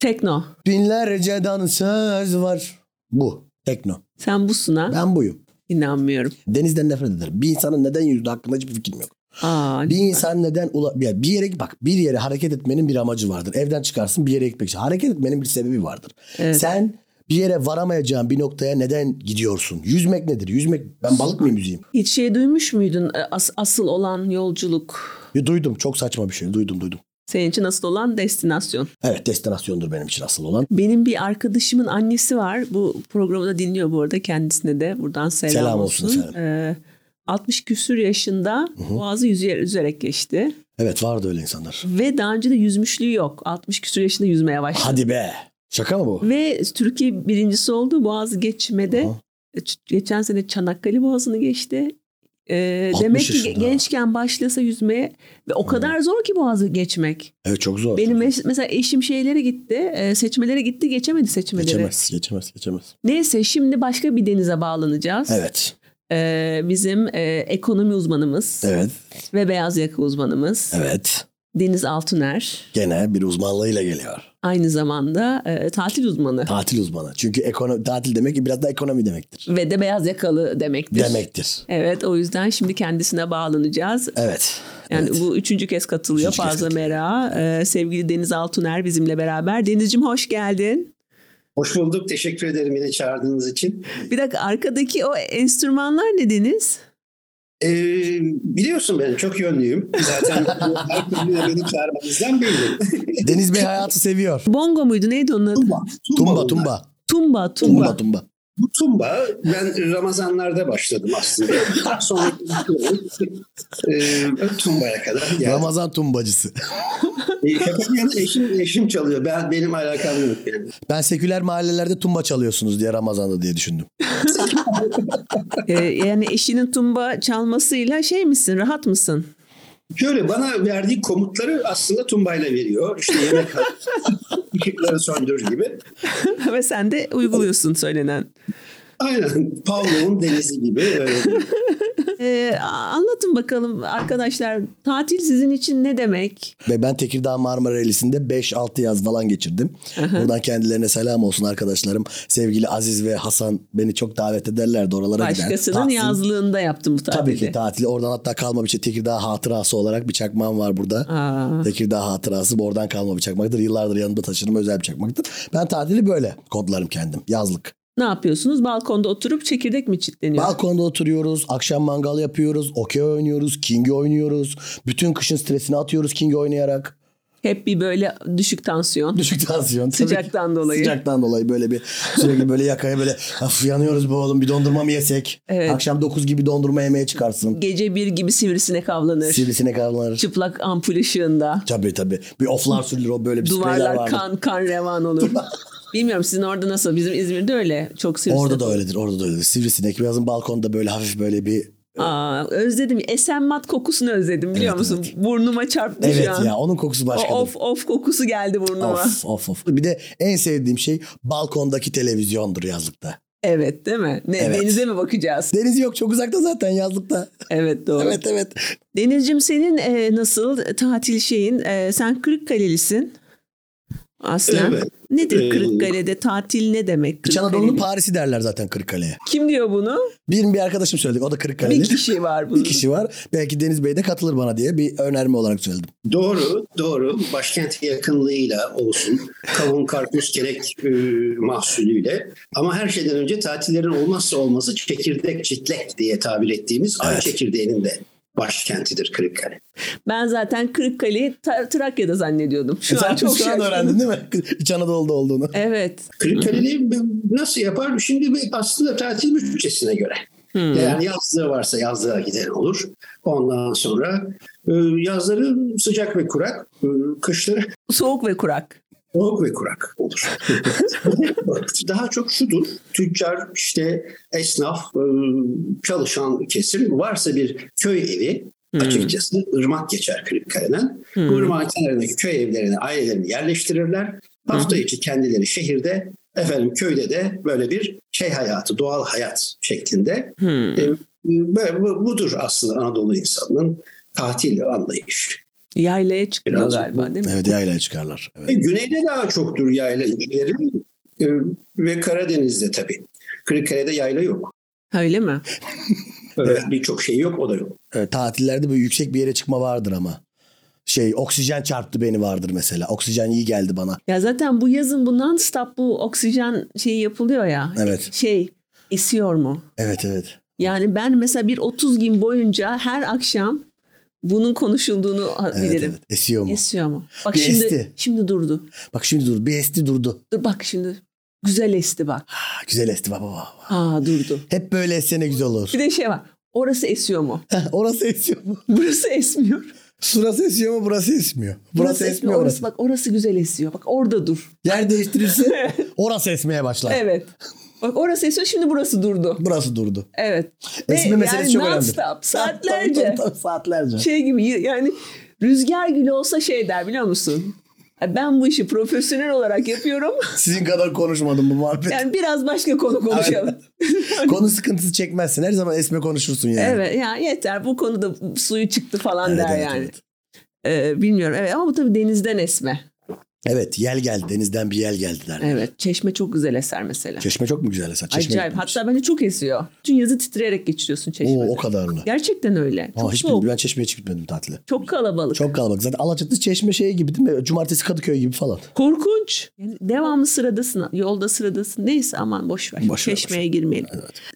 S1: Tekno.
S2: binlerce dansöz var. Bu. Tekno.
S1: Sen busun ha?
S2: Ben buyum.
S1: İnanmıyorum.
S2: Denizden nefret ederim. Bir insanın neden yüzdüğü hakkında hiçbir fikrim yok.
S1: Aa,
S2: Bir insan neden ula- ya bir yere bak bir yere hareket etmenin bir amacı vardır. Evden çıkarsın bir yere gitmek için. Hareket etmenin bir sebebi vardır.
S1: Evet.
S2: Sen bir yere varamayacağın bir noktaya neden gidiyorsun? Yüzmek nedir? Yüzmek ben balık mıyım yüzeyim?
S1: hiç şey duymuş muydun? E, as- asıl olan yolculuk.
S2: Ya duydum çok saçma bir şey. Duydum duydum.
S1: Senin için asıl olan destinasyon.
S2: Evet destinasyondur benim için asıl olan.
S1: Benim bir arkadaşımın annesi var. Bu programı da dinliyor bu arada. Kendisine de buradan selam,
S2: Selam olsun
S1: olsun.
S2: efendim.
S1: E, 60 küsür yaşında boğazı yüzüye- yüzerek geçti.
S2: Evet vardı öyle insanlar.
S1: Ve daha önce de yüzmüşlüğü yok. 60 küsür yaşında yüzmeye başladı.
S2: Hadi be. Şaka mı bu?
S1: Ve Türkiye birincisi oldu Boğaz'ı geçmede. e,
S2: Aha.
S1: Ç- Geçen sene Çanakkale Boğazı'nı geçti. Ee,
S2: 60
S1: demek ki
S2: yaşında.
S1: gençken başlasa yüzmeye ve o kadar zor ki Boğaz'ı geçmek.
S2: Evet çok zor.
S1: Benim mes- mesela eşim şeylere gitti, e, seçmelere gitti, geçemedi seçmeleri.
S2: geçemez, geçemez, geçemez.
S1: Neyse şimdi başka bir denize bağlanacağız.
S2: Evet.
S1: Ee, bizim e, ekonomi uzmanımız
S2: Evet.
S1: ve beyaz yaka uzmanımız
S2: Evet.
S1: Deniz Altuner
S2: Gene bir uzmanlığıyla geliyor.
S1: aynı zamanda e, tatil uzmanı
S2: Tatil uzmanı. Çünkü ekonomi, tatil demek ki biraz da ekonomi demektir.
S1: ve de beyaz yakalı demektir.
S2: Demektir.
S1: Evet o yüzden şimdi kendisine bağlanacağız.
S2: Evet.
S1: Yani
S2: evet.
S1: bu üçüncü kez katılıyor
S2: Üçüncü kez
S1: Fazla
S2: katılıyor.
S1: Mera. Ee, sevgili Deniz Altuner bizimle beraber. Deniz'cim hoş geldin.
S3: Hoş bulduk. Teşekkür ederim yine çağırdığınız için.
S1: Bir dakika arkadaki o enstrümanlar ne Deniz?
S3: Ee, biliyorsun ben çok yönlüyüm. Zaten her türlü de beni çağırmanızdan belli.
S2: Deniz Bey hayatı seviyor.
S1: Bongo muydu neydi onun adı?
S3: Tumba.
S2: Tumba
S3: bunlar.
S2: tumba.
S1: Tumba, tumba.
S2: Tumba tumba.
S3: Bu tumba ben Ramazanlarda başladım aslında. Daha Sonra ee, tumbaya kadar geldim.
S2: Ramazan tumbacısı.
S3: Ee, şaka bir yana eşim, eşim çalıyor. Ben, benim alakam yok yani.
S2: Ben seküler mahallelerde tumba çalıyorsunuz diye Ramazan'da diye düşündüm.
S1: Ee, yani eşinin tumba çalmasıyla şey misin rahat mısın?
S3: Şöyle bana verdiği komutları aslında tumbayla veriyor. İşte yemek al, ışıkları söndür gibi.
S1: ve sen de uyguluyorsun söylenen.
S3: Aynen Pavlov'un denizi gibi. Öyle bir
S1: Ee, anlatın bakalım arkadaşlar tatil sizin için ne demek?
S2: Ve ben Tekirdağ Marmara Elisi'nde 5-6 yaz falan geçirdim. Buradan kendilerine selam olsun arkadaşlarım. Sevgili Aziz ve Hasan beni çok davet ederlerdi oralara gider.
S1: Başkasının
S2: Tahsin-
S1: yazlığında yaptım bu tatili.
S2: Tabii ki tatili. Oradan hatta kalma bir şey. Tekirdağ hatırası olarak bir çakmağım var burada.
S1: Aa.
S2: Tekirdağ hatırası bu oradan kalma bir çakmaktır. Yıllardır yanımda taşıdığım özel bir çakmaktır. Ben tatili böyle kodlarım kendim. Yazlık.
S1: Ne yapıyorsunuz? Balkonda oturup çekirdek mi çitleniyor?
S2: Balkonda oturuyoruz. Akşam mangal yapıyoruz. Okey oynuyoruz. King oynuyoruz. Bütün kışın stresini atıyoruz King oynayarak.
S1: Hep bir böyle düşük tansiyon.
S2: Düşük tansiyon. tabii ki.
S1: Sıcaktan dolayı.
S2: Sıcaktan dolayı böyle bir sürekli böyle yakaya böyle "Af, yanıyoruz bu oğlum bir dondurma mı yesek?
S1: Evet.
S2: Akşam 9 gibi dondurma yemeye çıkarsın.
S1: Gece bir gibi sivrisinek avlanır.
S2: Sivrisinek avlanır.
S1: Çıplak ampul ışığında.
S2: Tabii tabii. Bir oflar sürülür o böyle bir spreyler
S1: Duvarlar
S2: vardır.
S1: kan kan revan olur. Bilmiyorum sizin orada nasıl? Bizim İzmir'de öyle. Çok sivrisinek.
S2: Orada da öyledir, orada da öyledir. Sivrisinek birazın balkonda böyle hafif böyle bir
S1: Aa, özledim. Esenmat kokusunu özledim biliyor
S2: Evet,
S1: musun? Burnuma çarptı
S2: Evet
S1: şu an.
S2: ya onun kokusu
S1: O
S2: başkadır.
S1: of of kokusu geldi burnuma.
S2: Of of of. Bir de en sevdiğim şey balkondaki televizyondur yazlıkta.
S1: Evet değil mi? Ne,
S2: Evet.
S1: Denize mi bakacağız?
S2: Deniz yok çok uzakta zaten yazlıkta.
S1: Evet doğru.
S2: Evet evet.
S1: Denizciğim senin e, nasıl tatil şeyin? E, sen Kırıkkale'lisin. Aslen.
S3: Evet.
S1: Nedir
S2: E,
S3: Ee,
S1: Kırıkkale'de tatil ne demek?
S2: İç
S1: Kırıkkale'nin-
S2: Anadolu'nun Paris'i derler zaten Kırıkkale'ye.
S1: Kim diyor bunu?
S2: Benim bir arkadaşım söyledi o da Kırıkkale'li.
S1: Bir kişi var bunun.
S2: Bir kişi var. Belki Deniz Bey de katılır bana diye bir önerme olarak söyledim.
S3: Doğru, doğru. Başkent yakınlığıyla olsun. Kavun, karpuz, gerek e, mahsulüyle. Ama her şeyden önce tatillerin olmazsa olması çekirdek çitlek diye tabir ettiğimiz ay
S2: Evet.
S3: çekirdeğinin de başkentidir Kırıkkale.
S1: Ben zaten Kırıkkale'yi Tra- Trakya'da zannediyordum. Şu an çok
S2: Sen E, şu an
S1: şaşkınım.
S2: öğrendin değil mi? İç Anadolu'da olduğunu.
S1: Evet.
S3: Kırıkkale'yi nasıl yapar? Şimdi bir- aslında tatil bütçesine göre.
S1: Hmm.
S3: Yani yazlığı varsa yazlığa giden olur. Ondan sonra e, yazları sıcak ve kurak, e, kışları
S1: Soğuk ve kurak.
S3: Soğuk ve kurak olur. Daha çok şudur. Tüccar, işte esnaf, ıı, çalışan kesim varsa bir köy evi açıkçası ırmak geçer Kırıkkale'den.
S1: Hmm.
S3: Bu ırmağın kenarındaki köy evlerine ailelerini yerleştirirler. Hafta
S1: Hmm.
S3: içi kendileri şehirde efendim köyde de böyle bir şey hayatı, doğal hayat şeklinde.
S1: Hmm.
S3: E, böyle- bu- budur aslında Anadolu insanının tatil anlayışı.
S1: Yaylaya çıkıyor
S3: Biraz-
S1: galiba değil mi?
S2: Evet yaylaya çıkarlar. Evet.
S3: E, Güneyde daha çoktur yayla ilgileri E, ve Karadeniz'de tabii. Kırıkkale'de yayla yok.
S1: Öyle mi?
S3: Evet. Birçok şey yok o da yok.
S2: E, tatillerde böyle yüksek bir yere çıkma vardır ama. Şey oksijen çarptı beni vardır mesela. Oksijen iyi geldi bana.
S1: Ya zaten bu yazın bu non-stop bu oksijen şeyi yapılıyor ya.
S2: Evet.
S1: Şey esiyor mu?
S2: Evet evet.
S1: Yani ben mesela bir 30 gün boyunca her akşam bunun konuşulduğunu ha-
S2: Evet,
S1: bilirim.
S2: evet. Esiyor mu?
S1: Esiyor mu? Bak
S2: Bir
S1: şimdi
S2: esti.
S1: şimdi durdu.
S2: Bak şimdi dur. Bir esti durdu.
S1: Dur bak şimdi. Güzel esti bak.
S2: Ha, güzel esti baba. baba.
S1: Ha durdu.
S2: Hep böyle essene güzel olur.
S1: Bir de şey var. Orası esiyor mu?
S2: Heh, orası esiyor mu?
S1: Burası esmiyor.
S2: Şurası esiyor mu? Burası esmiyor. Burası, esmiyor.
S1: Orası
S2: Orası.
S1: bak orası güzel esiyor. Bak orada dur.
S2: Yer değiştirirse orası esmeye başlar.
S1: Evet. Bak orası esiyor şimdi burası durdu.
S2: Burası durdu.
S1: Evet.
S2: Esme meselesi çok önemli.
S1: non-stop,
S2: Tabii,
S1: saatlerce.
S2: tabii, tabii, saatlerce.
S1: şey gibi yani rüzgar gülü olsa şey der biliyor musun? Ha, Ben bu işi profesyonel olarak yapıyorum.
S2: Sizin kadar konuşmadım bu muhabbet.
S1: Yani biraz başka konu konuşalım.
S2: Konu sıkıntısı çekmezsin. Her zaman esme konuşursun yani.
S1: evet ya yeter bu konuda suyu çıktı falan
S2: Evet,
S1: der
S2: evet,
S1: yani.
S2: evet.
S1: Ee, bilmiyorum evet ama bu tabii denizden esme.
S2: Evet yel geldi. Denizden bir yel geldi derler.
S1: Evet çeşme çok güzel eser mesela.
S2: Çeşme çok mu güzel eser? Çeşme
S1: Acayip
S2: gitmemiş.
S1: hatta bence çok esiyor. Bütün yazı titreyerek geçiriyorsun çeşmede.
S2: Oo, o kadar mı?
S1: Gerçekten öyle.
S2: Aa,
S1: Çok
S2: hiç
S1: soğuk,
S2: bilmiyorum. Ben çeşmeye hiç gitmedim tatile.
S1: çok kalabalık.
S2: Çok kalabalık. Zaten Alaçatı çeşme şeyi gibi değil mi? Cumartesi Kadıköy gibi falan.
S1: Korkunç. Yani devamlı sıradasın, yolda sıradasın. Neyse aman boş ver.
S2: Boş ver,
S1: Çeşmeye
S2: boş
S1: girmeyelim.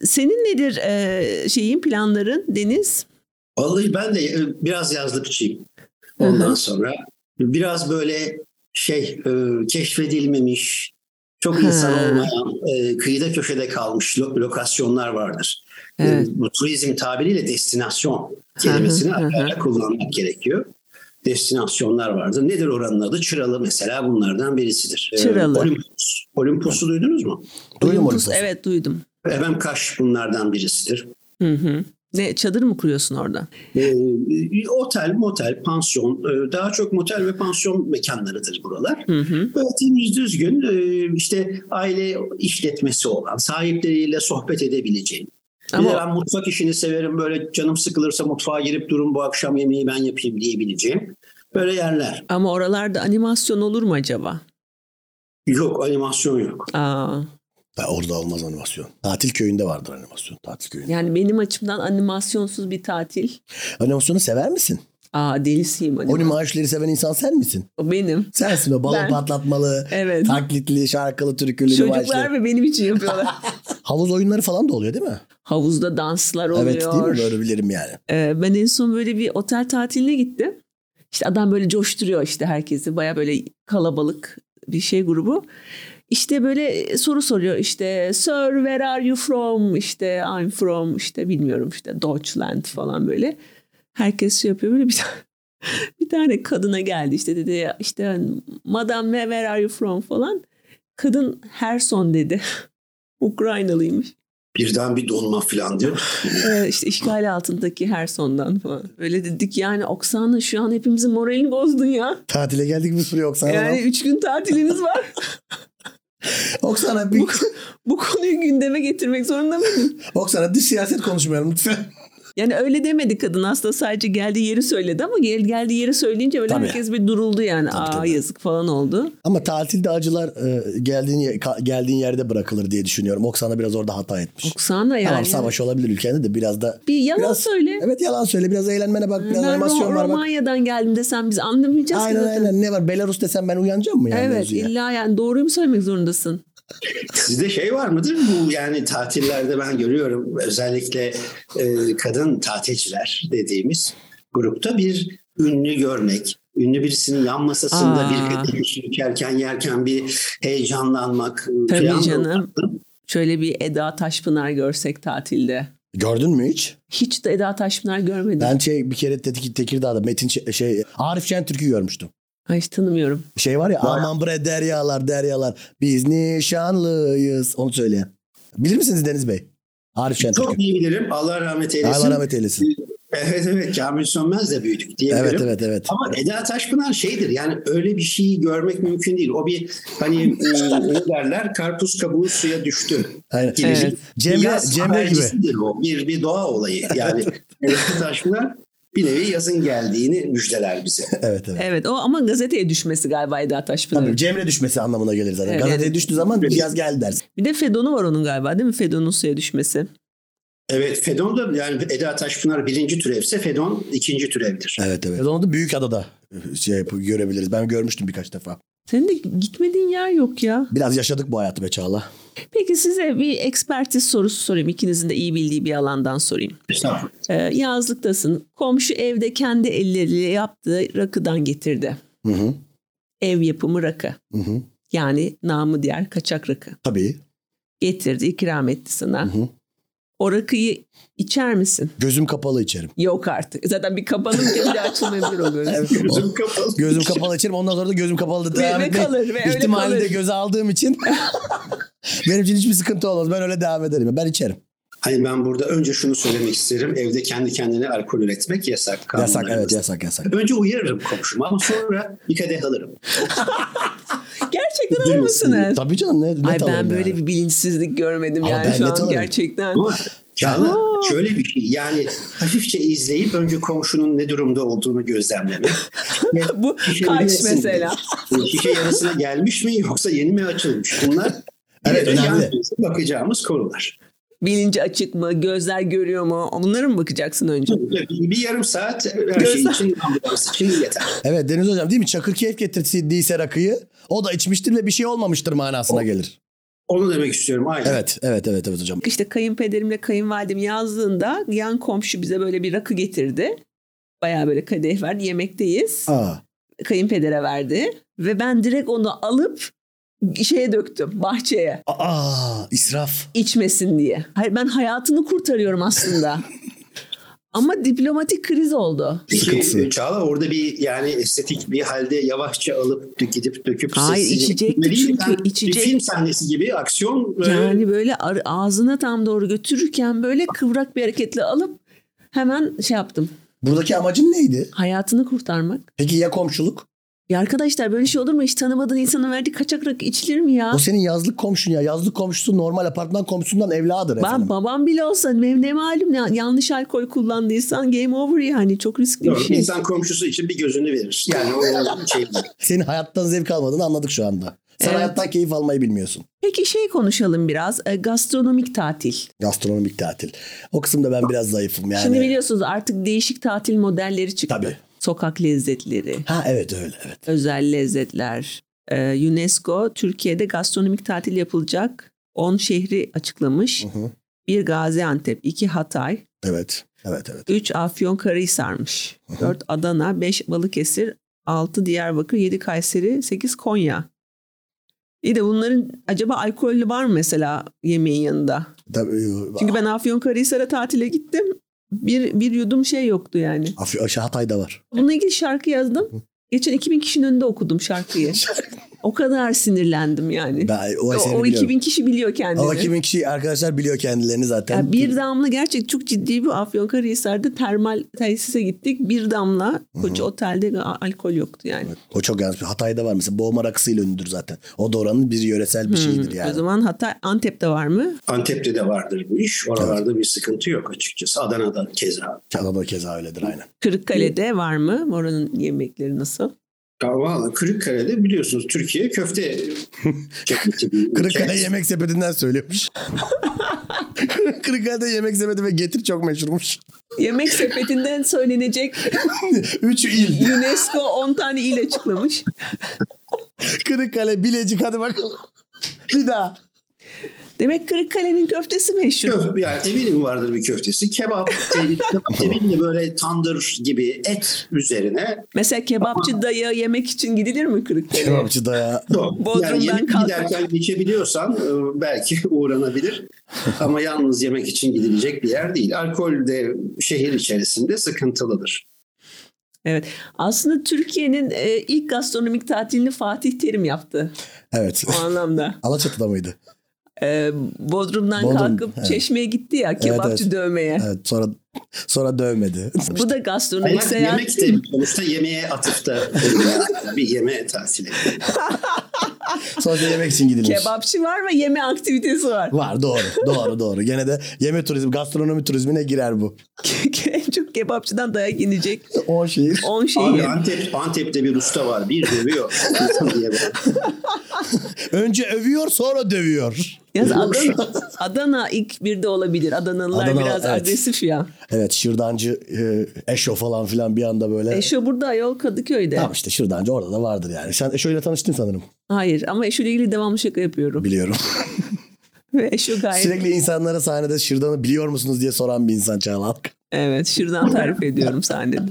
S1: Senin nedir e, şeyin planların Deniz?
S3: Vallahi ben de e, biraz yazlıkçıyım.
S1: Hı
S3: Ondan
S1: hı.
S3: sonra biraz böyle şey e, keşfedilmemiş, çok
S1: Ha.
S3: insan olmayan, e, kıyıda köşede kalmış lo- lokasyonlar vardır. E,
S1: Evet.
S3: Bu turizm tabiriyle destinasyon kelimesini
S1: Hı hı, hı hı.
S3: ara ara kullanmak gerekiyor. Destinasyonlar vardır. Nedir oranın adı? Çıralı mesela bunlardan birisidir. E,
S1: Çıralı.
S3: Olimpos. Olimpos'u duydunuz mu?
S2: Duydum
S1: Duydum,
S2: orası.
S1: Evet duydum.
S3: Efendim Kaş bunlardan birisidir.
S1: Hı hı. Ne çadır mı kuruyorsun orada?
S3: Ee, otel, motel, pansiyon, e, daha çok motel ve pansiyon mekanlarıdır buralar.
S1: Hı hı.
S3: Böyle temiz düzgün e, işte aile işletmesi olan, sahipleriyle sohbet edebileceğim.
S1: Ama-
S3: Ama ben mutfak işini severim böyle canım sıkılırsa mutfağa girip durun bu akşam yemeği ben yapayım diyebileceğim. Böyle yerler.
S1: Ama oralarda animasyon olur mu acaba?
S3: Yok animasyon yok.
S1: Aa,
S2: Ha, orada olmaz animasyon. Tatil köyünde vardır animasyon. Tatil köyünde.
S1: yani benim açımdan animasyonsuz bir tatil.
S2: Animasyonu Hani sever misin?
S1: Aa delisiyim
S2: Oni
S1: animasyon.
S2: maaşları seven insan sen misin?
S1: O benim.
S2: Sensin o balon
S1: Hani Ben.
S2: patlatmalı,
S1: Evet.
S2: taklitli, şarkılı, türkülü
S1: Çocuklar
S2: maaşları.
S1: ve benim için yapıyorlar.
S2: Havuz oyunları falan da oluyor değil mi?
S1: Havuzda danslar oluyor.
S2: Evet değil mi? Böyle bilirim yani.
S1: Ee, ben en son böyle bir otel tatiline gittim. İşte adam böyle coşturuyor işte herkesi. Baya böyle kalabalık bir şey grubu. İşte böyle soru soruyor işte Sir where are you from? İşte I'm from işte bilmiyorum işte Deutschland falan böyle. Herkes şey yapıyor böyle bir tane bir tane kadına geldi işte dedi işte madam where are you from falan. Kadın her son dedi. Ukraynalıymış.
S3: Birden bir donma falan diyor.
S1: Ee, işte işgal altındaki her sondan falan. Öyle dedik yani Oksana şu an hepimizin moralini bozdun ya.
S2: Tatile geldik bir sürü Oksana.
S1: Yani üç gün tatilimiz var.
S2: Oksana bir...
S1: bu, bu konuyu gündeme getirmek zorunda mıydın?
S2: Oksana dış siyaset konuşmayalım lütfen.
S1: Yani öyle demedi kadın aslında sadece geldiği yeri söyledi ama gel, geldiği yeri söyleyince böyle
S2: Tabii.
S1: herkes bir duruldu yani.
S2: Tabii,
S1: Aa
S2: tabii.
S1: yazık falan oldu.
S2: Ama tatilde acılar e, geldiğin ye- ka- geldiğin yerde bırakılır diye düşünüyorum. Oksana biraz orada hata etmiş.
S1: Oksana yani.
S2: Tamam savaş olabilir ülkende de biraz da
S1: Bir yalan
S2: biraz,
S1: söyle.
S2: Evet yalan söyle. Biraz eğlenmene bak. Biraz
S1: ben
S2: animasyon
S1: Ro-
S2: var bak.
S1: Romanya'dan geldim desem biz anlamayacağız ki
S2: Aynen
S1: zaten.
S2: aynen. Ne var? Belarus desem ben uyanacağım mı yani?
S1: Evet
S2: mevzuya?
S1: illa yani doğruyu mu söylemek zorundasın?
S3: Sizde şey var mıdır bu yani tatillerde ben görüyorum özellikle e, kadın tatilciler dediğimiz grupta bir ünlü görmek, ünlü birisinin yan masasında
S1: Aa.
S3: bir kadeh içerken yerken bir heyecanlanmak e,
S1: Tabii
S3: falan da
S2: şey
S1: canım.
S3: vardı.
S1: Şöyle bir Eda Taşpınar görsek tatilde.
S2: Gördün mü hiç?
S1: Hiç de Eda Taşpınar görmedim.
S2: Ben şey bir kere Tetik- Tekirdağ'da Metin Ç- şey Arif Şentürk'ü görmüştüm.
S1: Ay hiç tanımıyorum.
S2: Şey var ya
S3: Vay.
S2: aman bre deryalar deryalar biz nişanlıyız onu söyleyen. Bilir misiniz Deniz Bey? Arif Şentürk'ü.
S3: Çok iyi bilirim. Allah rahmet eylesin.
S2: Allah rahmet eylesin.
S3: Evet evet Kamil Sönmez de büyüdük diyebilirim.
S2: Evet evet evet.
S3: Ama Eda Taşpınar şeydir yani öyle bir şeyi görmek mümkün değil. O bir hani e, ne derler karpuz kabuğu suya düştü.
S2: Aynen.
S3: Gibi.
S1: Evet.
S3: Bir
S2: Cemre,
S3: yaz
S2: Cemre gibi.
S3: habercisidir o. Bir, bir doğa olayı yani. Eda Taşpınar bir nevi yazın geldiğini müjdeler bize.
S2: Evet evet.
S1: Evet o ama gazeteye düşmesi galiba Eda Taşpınar.
S2: Tabii Cemre düşmesi anlamına gelir zaten.
S1: Evet.
S2: Gazeteye düştüğü zaman yaz geldi dersin.
S1: Bir de Fedon'u var onun galiba değil mi? Fedon'un suya düşmesi.
S3: Evet Fedon da yani Eda Taşpınar birinci türevse Fedon ikinci türevdir.
S2: Evet evet. Onu da büyük adada şey yapıp görebiliriz. Ben görmüştüm birkaç defa.
S1: Senin de gitmediğin yer yok ya.
S2: Biraz yaşadık bu hayatı be Çağla.
S1: Peki size bir ekspertiz sorusu sorayım. İkinizin de iyi bildiği bir alandan sorayım.
S3: Estağfurullah.
S1: Ee, yazlıktasın. Komşu evde kendi elleriyle yaptığı rakıdan getirdi.
S2: Hı hı.
S1: Ev yapımı rakı.
S2: Hı hı.
S1: Yani namı diğer kaçak rakı.
S2: Tabii.
S1: Getirdi, ikram etti sana.
S2: Hı hı.
S1: O rakıyı içer misin?
S2: Gözüm kapalı içerim.
S1: Yok artık. Zaten bir kapanınca bir de açılmayabilir o göz.
S3: Gözüm kapalı.
S2: Gözüm kapalı içerim. Ondan sonra da gözüm kapalı da
S1: Ve-
S2: devam
S1: ve
S2: etmek
S1: kalır, ve öyle
S2: ihtimali de
S1: kalır.
S2: göze aldığım için benim için hiçbir sıkıntı olmaz. Ben öyle devam ederim. Ben içerim.
S3: Hani ben burada önce şunu söylemek isterim. Evde kendi kendine alkol üretmek yasak.
S2: Yasak
S3: kanunlarımızda.
S2: evet yasak yasak.
S3: Önce uyarırım komşumu ama sonra bir kadeh alırım.
S1: Gerçekten alır
S3: Üzülmesin.
S1: mısınız?
S2: Tabii canım ne, ne
S1: Ay ben
S2: alırım
S1: böyle
S2: yani.
S1: bir bilinçsizlik görmedim
S2: Ama ben
S1: yani şu
S2: net
S1: an
S2: alırım.
S1: gerçekten.
S3: Ama Çağla
S1: Aa.
S3: şöyle bir şey yani hafifçe izleyip önce komşunun ne durumda olduğunu gözlemlemek.
S1: Bu
S2: şey
S3: Şişe
S1: kaç
S3: yarısı mı?
S1: mesela.
S3: Şişe yarısına gelmiş mi yoksa yeni mi açılmış? Bunlar
S2: Evet,
S3: bir de
S2: önemli.
S3: yan- bakacağımız konular.
S1: Bilinci açık mı? Gözler görüyor mu? Onlara mı bakacaksın önce?
S3: Bir yarım saat her şey
S1: Gözler-
S3: için ambulans için yeter.
S2: Evet Deniz Hocam değil mi? Çakırkeyf getirdiyse rakıyı o da içmiştir ve bir şey olmamıştır manasına gelir.
S3: Onu demek istiyorum aynen.
S2: Evet evet evet evet hocam.
S1: İşte kayınpederimle kayınvalidem yazdığında yan komşu bize böyle bir rakı getirdi. Bayağı böyle kadeh verdi. Yemekteyiz.
S2: Aa.
S1: Kayınpedere verdi. Ve ben direkt onu alıp şeye döktüm bahçeye
S2: Aa israf.
S1: içmesin diye. Hayır ben hayatını kurtarıyorum aslında. Ama diplomatik kriz oldu.
S3: Peki
S2: Sıkıntısı.
S3: e, Çağla orada bir yani estetik bir halde yavaşça alıp dö- gidip döküp
S1: Hayır,
S3: sessizce
S1: içecekti
S3: gitmeli değil mi?
S1: çünkü,
S3: bir
S1: içecek-
S3: film sahnesi gibi aksiyon e,
S1: Yani böyle ar- ağzına tam doğru götürürken böyle kıvrak bir hareketle alıp hemen şey yaptım.
S2: Buradaki amacın neydi?
S1: Hayatını kurtarmak.
S2: Peki ya komşuluk?
S1: Ya arkadaşlar böyle şey olur mu? Hiç tanımadığın insana verdiği kaçak rakı içilir mi ya?
S2: O senin yazlık komşun ya. Yazlık komşusu normal apartman komşusundan evladır
S1: Ben
S2: efendim.
S1: babam bile olsa benim ne malum ya, yanlış alkol kullandıysan game over yani çok riskli bir
S3: Doğru.
S1: şey.
S3: İnsan komşusu için bir gözünü verir. Yani o şey.
S2: Senin hayattan zevk almadığını anladık şu anda. Sen
S1: Evet.
S2: hayattan keyif almayı bilmiyorsun.
S1: Peki şey konuşalım biraz E, gastronomik tatil.
S2: Gastronomik tatil. O kısımda ben biraz zayıfım yani.
S1: Şimdi biliyorsunuz artık değişik tatil modelleri çıktı.
S2: Tabii.
S1: Sokak lezzetleri,
S2: Ha evet öyle evet.
S1: özel lezzetler. E, UNESCO Türkiye'de gastronomik tatil yapılacak 10 şehri açıklamış.
S2: Hı hı.
S1: Bir Gaziantep, iki Hatay,
S2: Evet. Evet evet.
S1: 3 Afyonkarahisar'mış. 4 Adana, 5 Balıkesir, 6 Diyarbakır, 7 Kayseri, 8 Konya. İyi de bunların acaba alkollü var mı mesela yemeğin yanında?
S2: Tabii, ıı,
S1: Çünkü ben Afyonkarahisar'a tatile gittim. Bir, bir yudum şey yoktu yani.
S2: Afy- şey, Hatay'da var.
S1: Bununla ilgili şarkı yazdım. Geçen 2000 kişinin önünde okudum şarkıyı. O kadar sinirlendim yani.
S2: Ben o
S1: O,
S2: eseri
S1: o
S2: biliyorum.
S1: 2000 kişi biliyor kendini.
S2: Ama 2000 kişi arkadaşlar biliyor kendilerini zaten.
S1: Ya bir damla gerçek çok ciddi bir Afyonkarahisar'da termal tesise gittik. Bir damla koca otelde a- alkol yoktu yani.
S2: Evet, O çok yanlış. Hatay'da var mesela. Boğma rakısıyla ünlüdür zaten. O da oranın bir yöresel bir şeyidir yani.
S1: Hmm, O zaman hatta Antep'te var mı?
S3: Antep'te de vardır bu iş. Oralarda bir sıkıntı yok açıkçası. Adana'da keza.
S2: Çalama keza öyledir aynen.
S1: Kırıkkale'de var mı? Oranın yemekleri nasıl?
S3: Ama Kırıkkale'de biliyorsunuz Türkiye köfte cenneti bir ülke.
S2: Kırıkkale yemek sepetinden söylüyormuş. Kırıkkale'de yemek sepeti ve getir çok meşhurmuş.
S1: Yemek sepetinden söylenecek
S2: Üç il.
S1: UNESCO 10 tane il açıklamış.
S2: Kırıkkale, Bilecik hadi bakalım. Bir daha.
S1: Demek Kırıkkale'nin köftesi meşhur.
S3: Köfte, yani eminim vardır bir köftesi. Kebap, e, kebap eminim böyle tandır gibi et üzerine.
S1: Mesela kebapçı dayı yemek için gidilir mi Kırıkkale'ye?
S2: Kebapçı da ya.
S1: Bodrum'dan
S3: yani yemek
S1: kalkıp-
S3: giderken geçebiliyorsan e, belki uğranabilir. Ama yalnız yemek için gidilecek bir yer değil. Alkol de şehir içerisinde sıkıntılıdır.
S1: Evet. Aslında Türkiye'nin e, ilk gastronomik tatilini Fatih Terim yaptı
S2: Evet.
S1: o anlamda.
S2: Alaçatı'da mıydı?
S1: Ee, Bodrum'dan
S2: Bodrum,
S1: kalkıp
S2: evet.
S1: Çeşme'ye gitti ya kebapçı
S2: evet.
S1: dövmeye.
S2: Evet sonra sonra dövmedi.
S1: Bu da gastronomik
S3: Yemek,
S1: seyahat.
S3: yemek de sonuçta yemeğe atıfta bulunan bir yemeğe tatili.
S2: Sonuçta yemek için gidilmiş.
S1: Kebapçı var ve yeme aktivitesi var.
S2: Var doğru doğru doğru. Gene de yeme turizmi gastronomi turizmine girer bu.
S1: En çok kebapçıdan dayak yenecek.
S2: O şehir.
S1: 10 şeyi.
S3: Abi Antep, Antep'te bir usta var. Bir dövüyor. insan diye bak.
S2: Önce övüyor sonra dövüyor.
S1: Yalnız Adana, Adana ilk birde olabilir. Adanalılar
S2: Adana,
S1: biraz
S2: evet.
S1: agresif ya.
S2: Evet şırdancı e, Eşo falan filan bir anda böyle.
S1: Eşo burada ayol Kadıköy'de.
S2: Tamam işte şırdancı orada da vardır yani. Sen Eşo ile tanıştın sanırım.
S1: Hayır ama Eşo ile ilgili devamlı şaka yapıyorum.
S2: Biliyorum.
S1: Ve Eşo gayet
S2: Sürekli insanlara sahnede şırdanı biliyor musunuz diye soran bir insan Çağla.
S1: Evet şuradan tarif ediyorum sahnede.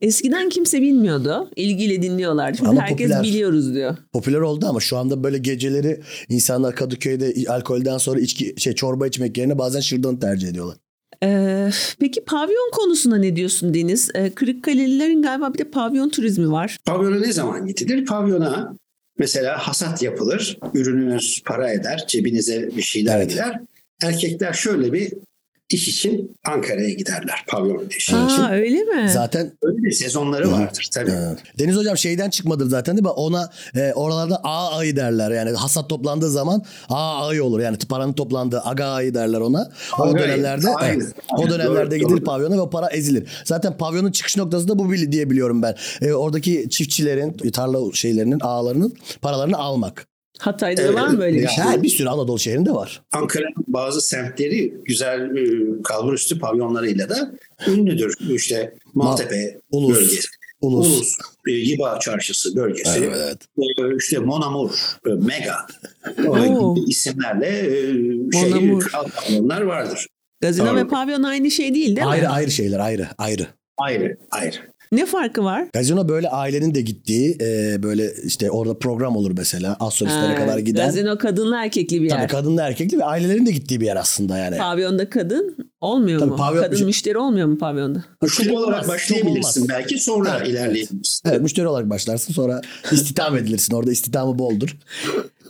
S1: Eskiden kimse bilmiyordu. İlgiyle dinliyorlardı. Şimdi
S2: Ama
S1: herkes
S2: popüler.
S1: biliyoruz diyor.
S2: Popüler oldu ama şu anda böyle geceleri insanlar Kadıköy'de alkolden sonra içki şey çorba içmek yerine bazen şırdanı tercih ediyorlar.
S1: Ee, peki pavyon konusuna ne diyorsun Deniz? Ee, Kırıkkalelilerin galiba bir de pavyon turizmi var.
S3: Pavyona ne zaman gidilir? Pavyona mesela hasat yapılır. Ürününüz para eder. Cebinize bir şeyler
S2: Evet.
S3: gider. Erkekler şöyle bir iş için Ankara'ya giderler. Pavyon işi için.
S1: Aa öyle mi?
S2: Zaten
S3: Öyle bir sezonları vardır tabii.
S2: e, Deniz hocam şeyden çıkmadır zaten değil mi? Ona e, oralarda A ayı derler. Yani hasat toplandığı zaman A ayı olur. Yani paranın toplandığı aga ayı derler ona. O
S3: Aga ayı,
S2: dönemlerde
S3: aynen.
S2: evet. o dönemlerde
S3: Doğru,
S2: gidilir
S3: doğru.
S2: pavyona ve para ezilir. Zaten pavyonun çıkış noktası da bu bili- diye biliyorum ben. E, oradaki çiftçilerin, tarla şeylerinin, ağalarının paralarını almak.
S1: Hatay'da
S3: Evet,
S1: var mı öyle bir
S3: ya.
S1: şey?
S2: Her bir sürü Anadolu şehrinde var.
S3: Ankara'nın bazı semtleri güzel e, kalburüstü pavyonlarıyla da ünlüdür. İşte Maltepe
S2: Ulus.
S3: bölgesi,
S2: Ulus.
S3: Ulus, e, Yiba Çarşısı bölgesi,
S2: Evet, evet.
S3: e, işte Monamur, e, Mega e,
S1: Oo.
S3: gibi isimlerle e, şey,
S1: Monamur.
S3: kral pavyonlar vardır.
S1: Gazino
S3: Doğru.
S1: ve pavyon aynı şey değil değil mi?
S2: Ayrı ayrı şeyler ayrı ayrı.
S3: Ayrı, ayrı.
S1: Ne farkı var?
S2: Gazino böyle ailenin de gittiği e, böyle işte orada program olur mesela. Az solistlere
S1: Ha,
S2: kadar giden.
S1: Ee, Gazino kadınla erkekli bir
S2: Tabii
S1: yer.
S2: kadınla erkekli ve ailelerin de gittiği bir yer aslında yani.
S1: Pavyonda kadın olmuyor
S2: Tabii
S1: mu?
S2: pavyon- Şey-
S1: Kadın müşteri olmuyor mu pavyonda?
S3: Müşteri
S2: olmaz,
S3: olarak
S2: çok
S3: başlayabilirsin
S2: olmaz.
S3: belki sonra
S2: Evet.
S3: ilerleyebilirsin.
S2: Evet müşteri olarak başlarsın sonra istihdam edilirsin. Orada istihdamı boldur.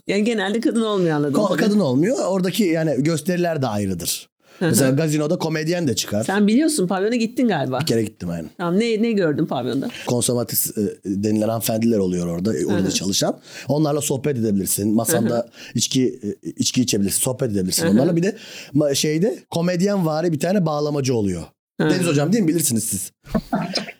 S1: Yani genelde kadın olmuyor anladım.
S2: Ko- Kadın olmuyor. Oradaki yani gösteriler de ayrıdır. Mesela gazinoda komedyen de çıkar.
S1: Sen biliyorsun pavyona gittin galiba.
S2: Bir kere gittim aynen.
S1: Tamam ne ne gördün pavyonda?
S2: Konsomatis e, denilen hanımefendiler oluyor orada. e, Orada çalışan. Onlarla sohbet edebilirsin. Masanda içki e, içki içebilirsin. Sohbet edebilirsin onlarla. Bir de ma- şeyde komedyen vari bir tane bağlamacı oluyor.
S1: Hı.
S2: Deniz hocam değil mi? Bilirsiniz siz.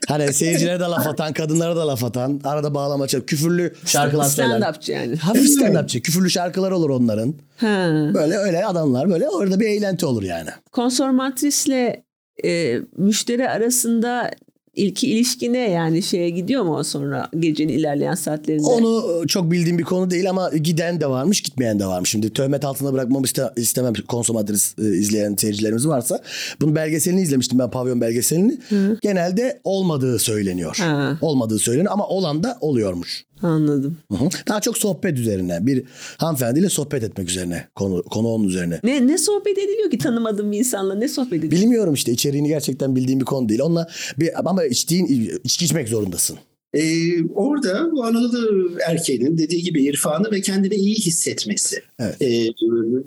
S2: Hani seyircilere de laf atan, kadınlara da laf atan, arada bağlama çalıp küfürlü şarkılar söyler.
S1: Stand-upçı yani.
S2: Hafif stand-upçı. Küfürlü şarkılar olur onların.
S1: Ha.
S2: Böyle öyle adamlar böyle orada bir eğlenti olur yani.
S1: Konsormatrisle e, müşteri arasında İlki ilişki ne yani şeye gidiyor mu o sonra gecenin ilerleyen saatlerinde?
S2: Onu e, çok bildiğim bir konu değil ama giden de varmış gitmeyen de varmış. Şimdi töhmet altında bırakmamı iste- istemem konsomatris e, izleyen seyircilerimiz varsa. Bunun belgeselini izlemiştim ben pavyon belgeselini. Genelde olmadığı söyleniyor.
S1: Ha.
S2: Olmadığı söyleniyor ama olan da oluyormuş.
S1: Anladım.
S2: Hı hı. Daha çok sohbet üzerine bir hanımefendiyle sohbet etmek üzerine konu, konu onun üzerine.
S1: Ne ne sohbet ediliyor ki tanımadığım bir insanla ne sohbet ediliyor?
S2: Bilmiyorum işte içeriğini gerçekten bildiğim bir konu değil. Onunla bir, ama içtiğin içki içmek zorundasın.
S3: Ee, orada bu Anadolu erkeğinin dediği gibi irfanı ve kendini iyi hissetmesi.
S2: Evet.
S3: Ee,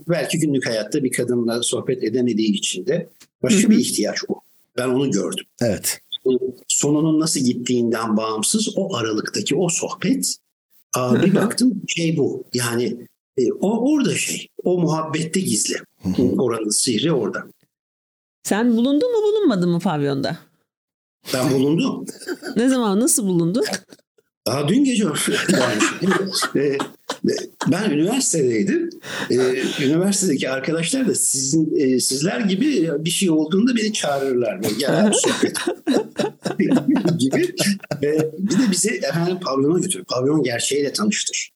S3: belki günlük hayatta bir kadınla sohbet edemediği için de başka bir ihtiyaç bu. Ben onu gördüm.
S2: Evet.
S3: Ee, Sonunun nasıl gittiğinden bağımsız o aralıktaki o sohbet aa, bir baktım şey bu. Yani e, o orada şey. O muhabbette gizli. Oranın sihri orada.
S1: Sen bulundun mu bulunmadın mı pavyonda?
S3: Ben bulundum.
S1: Ne zaman nasıl bulundun?
S3: Daha dün gece şey varmışım, değil mi? Ee, ben üniversitedeydim. Ee, üniversitedeki arkadaşlar da sizin e, sizler gibi bir şey olduğunda beni çağırırlar. Böyle, Gel abi sohbet. gibi. Ee, bir de bizi efendim pavyona götür. Pavyon gerçeğiyle tanıştır.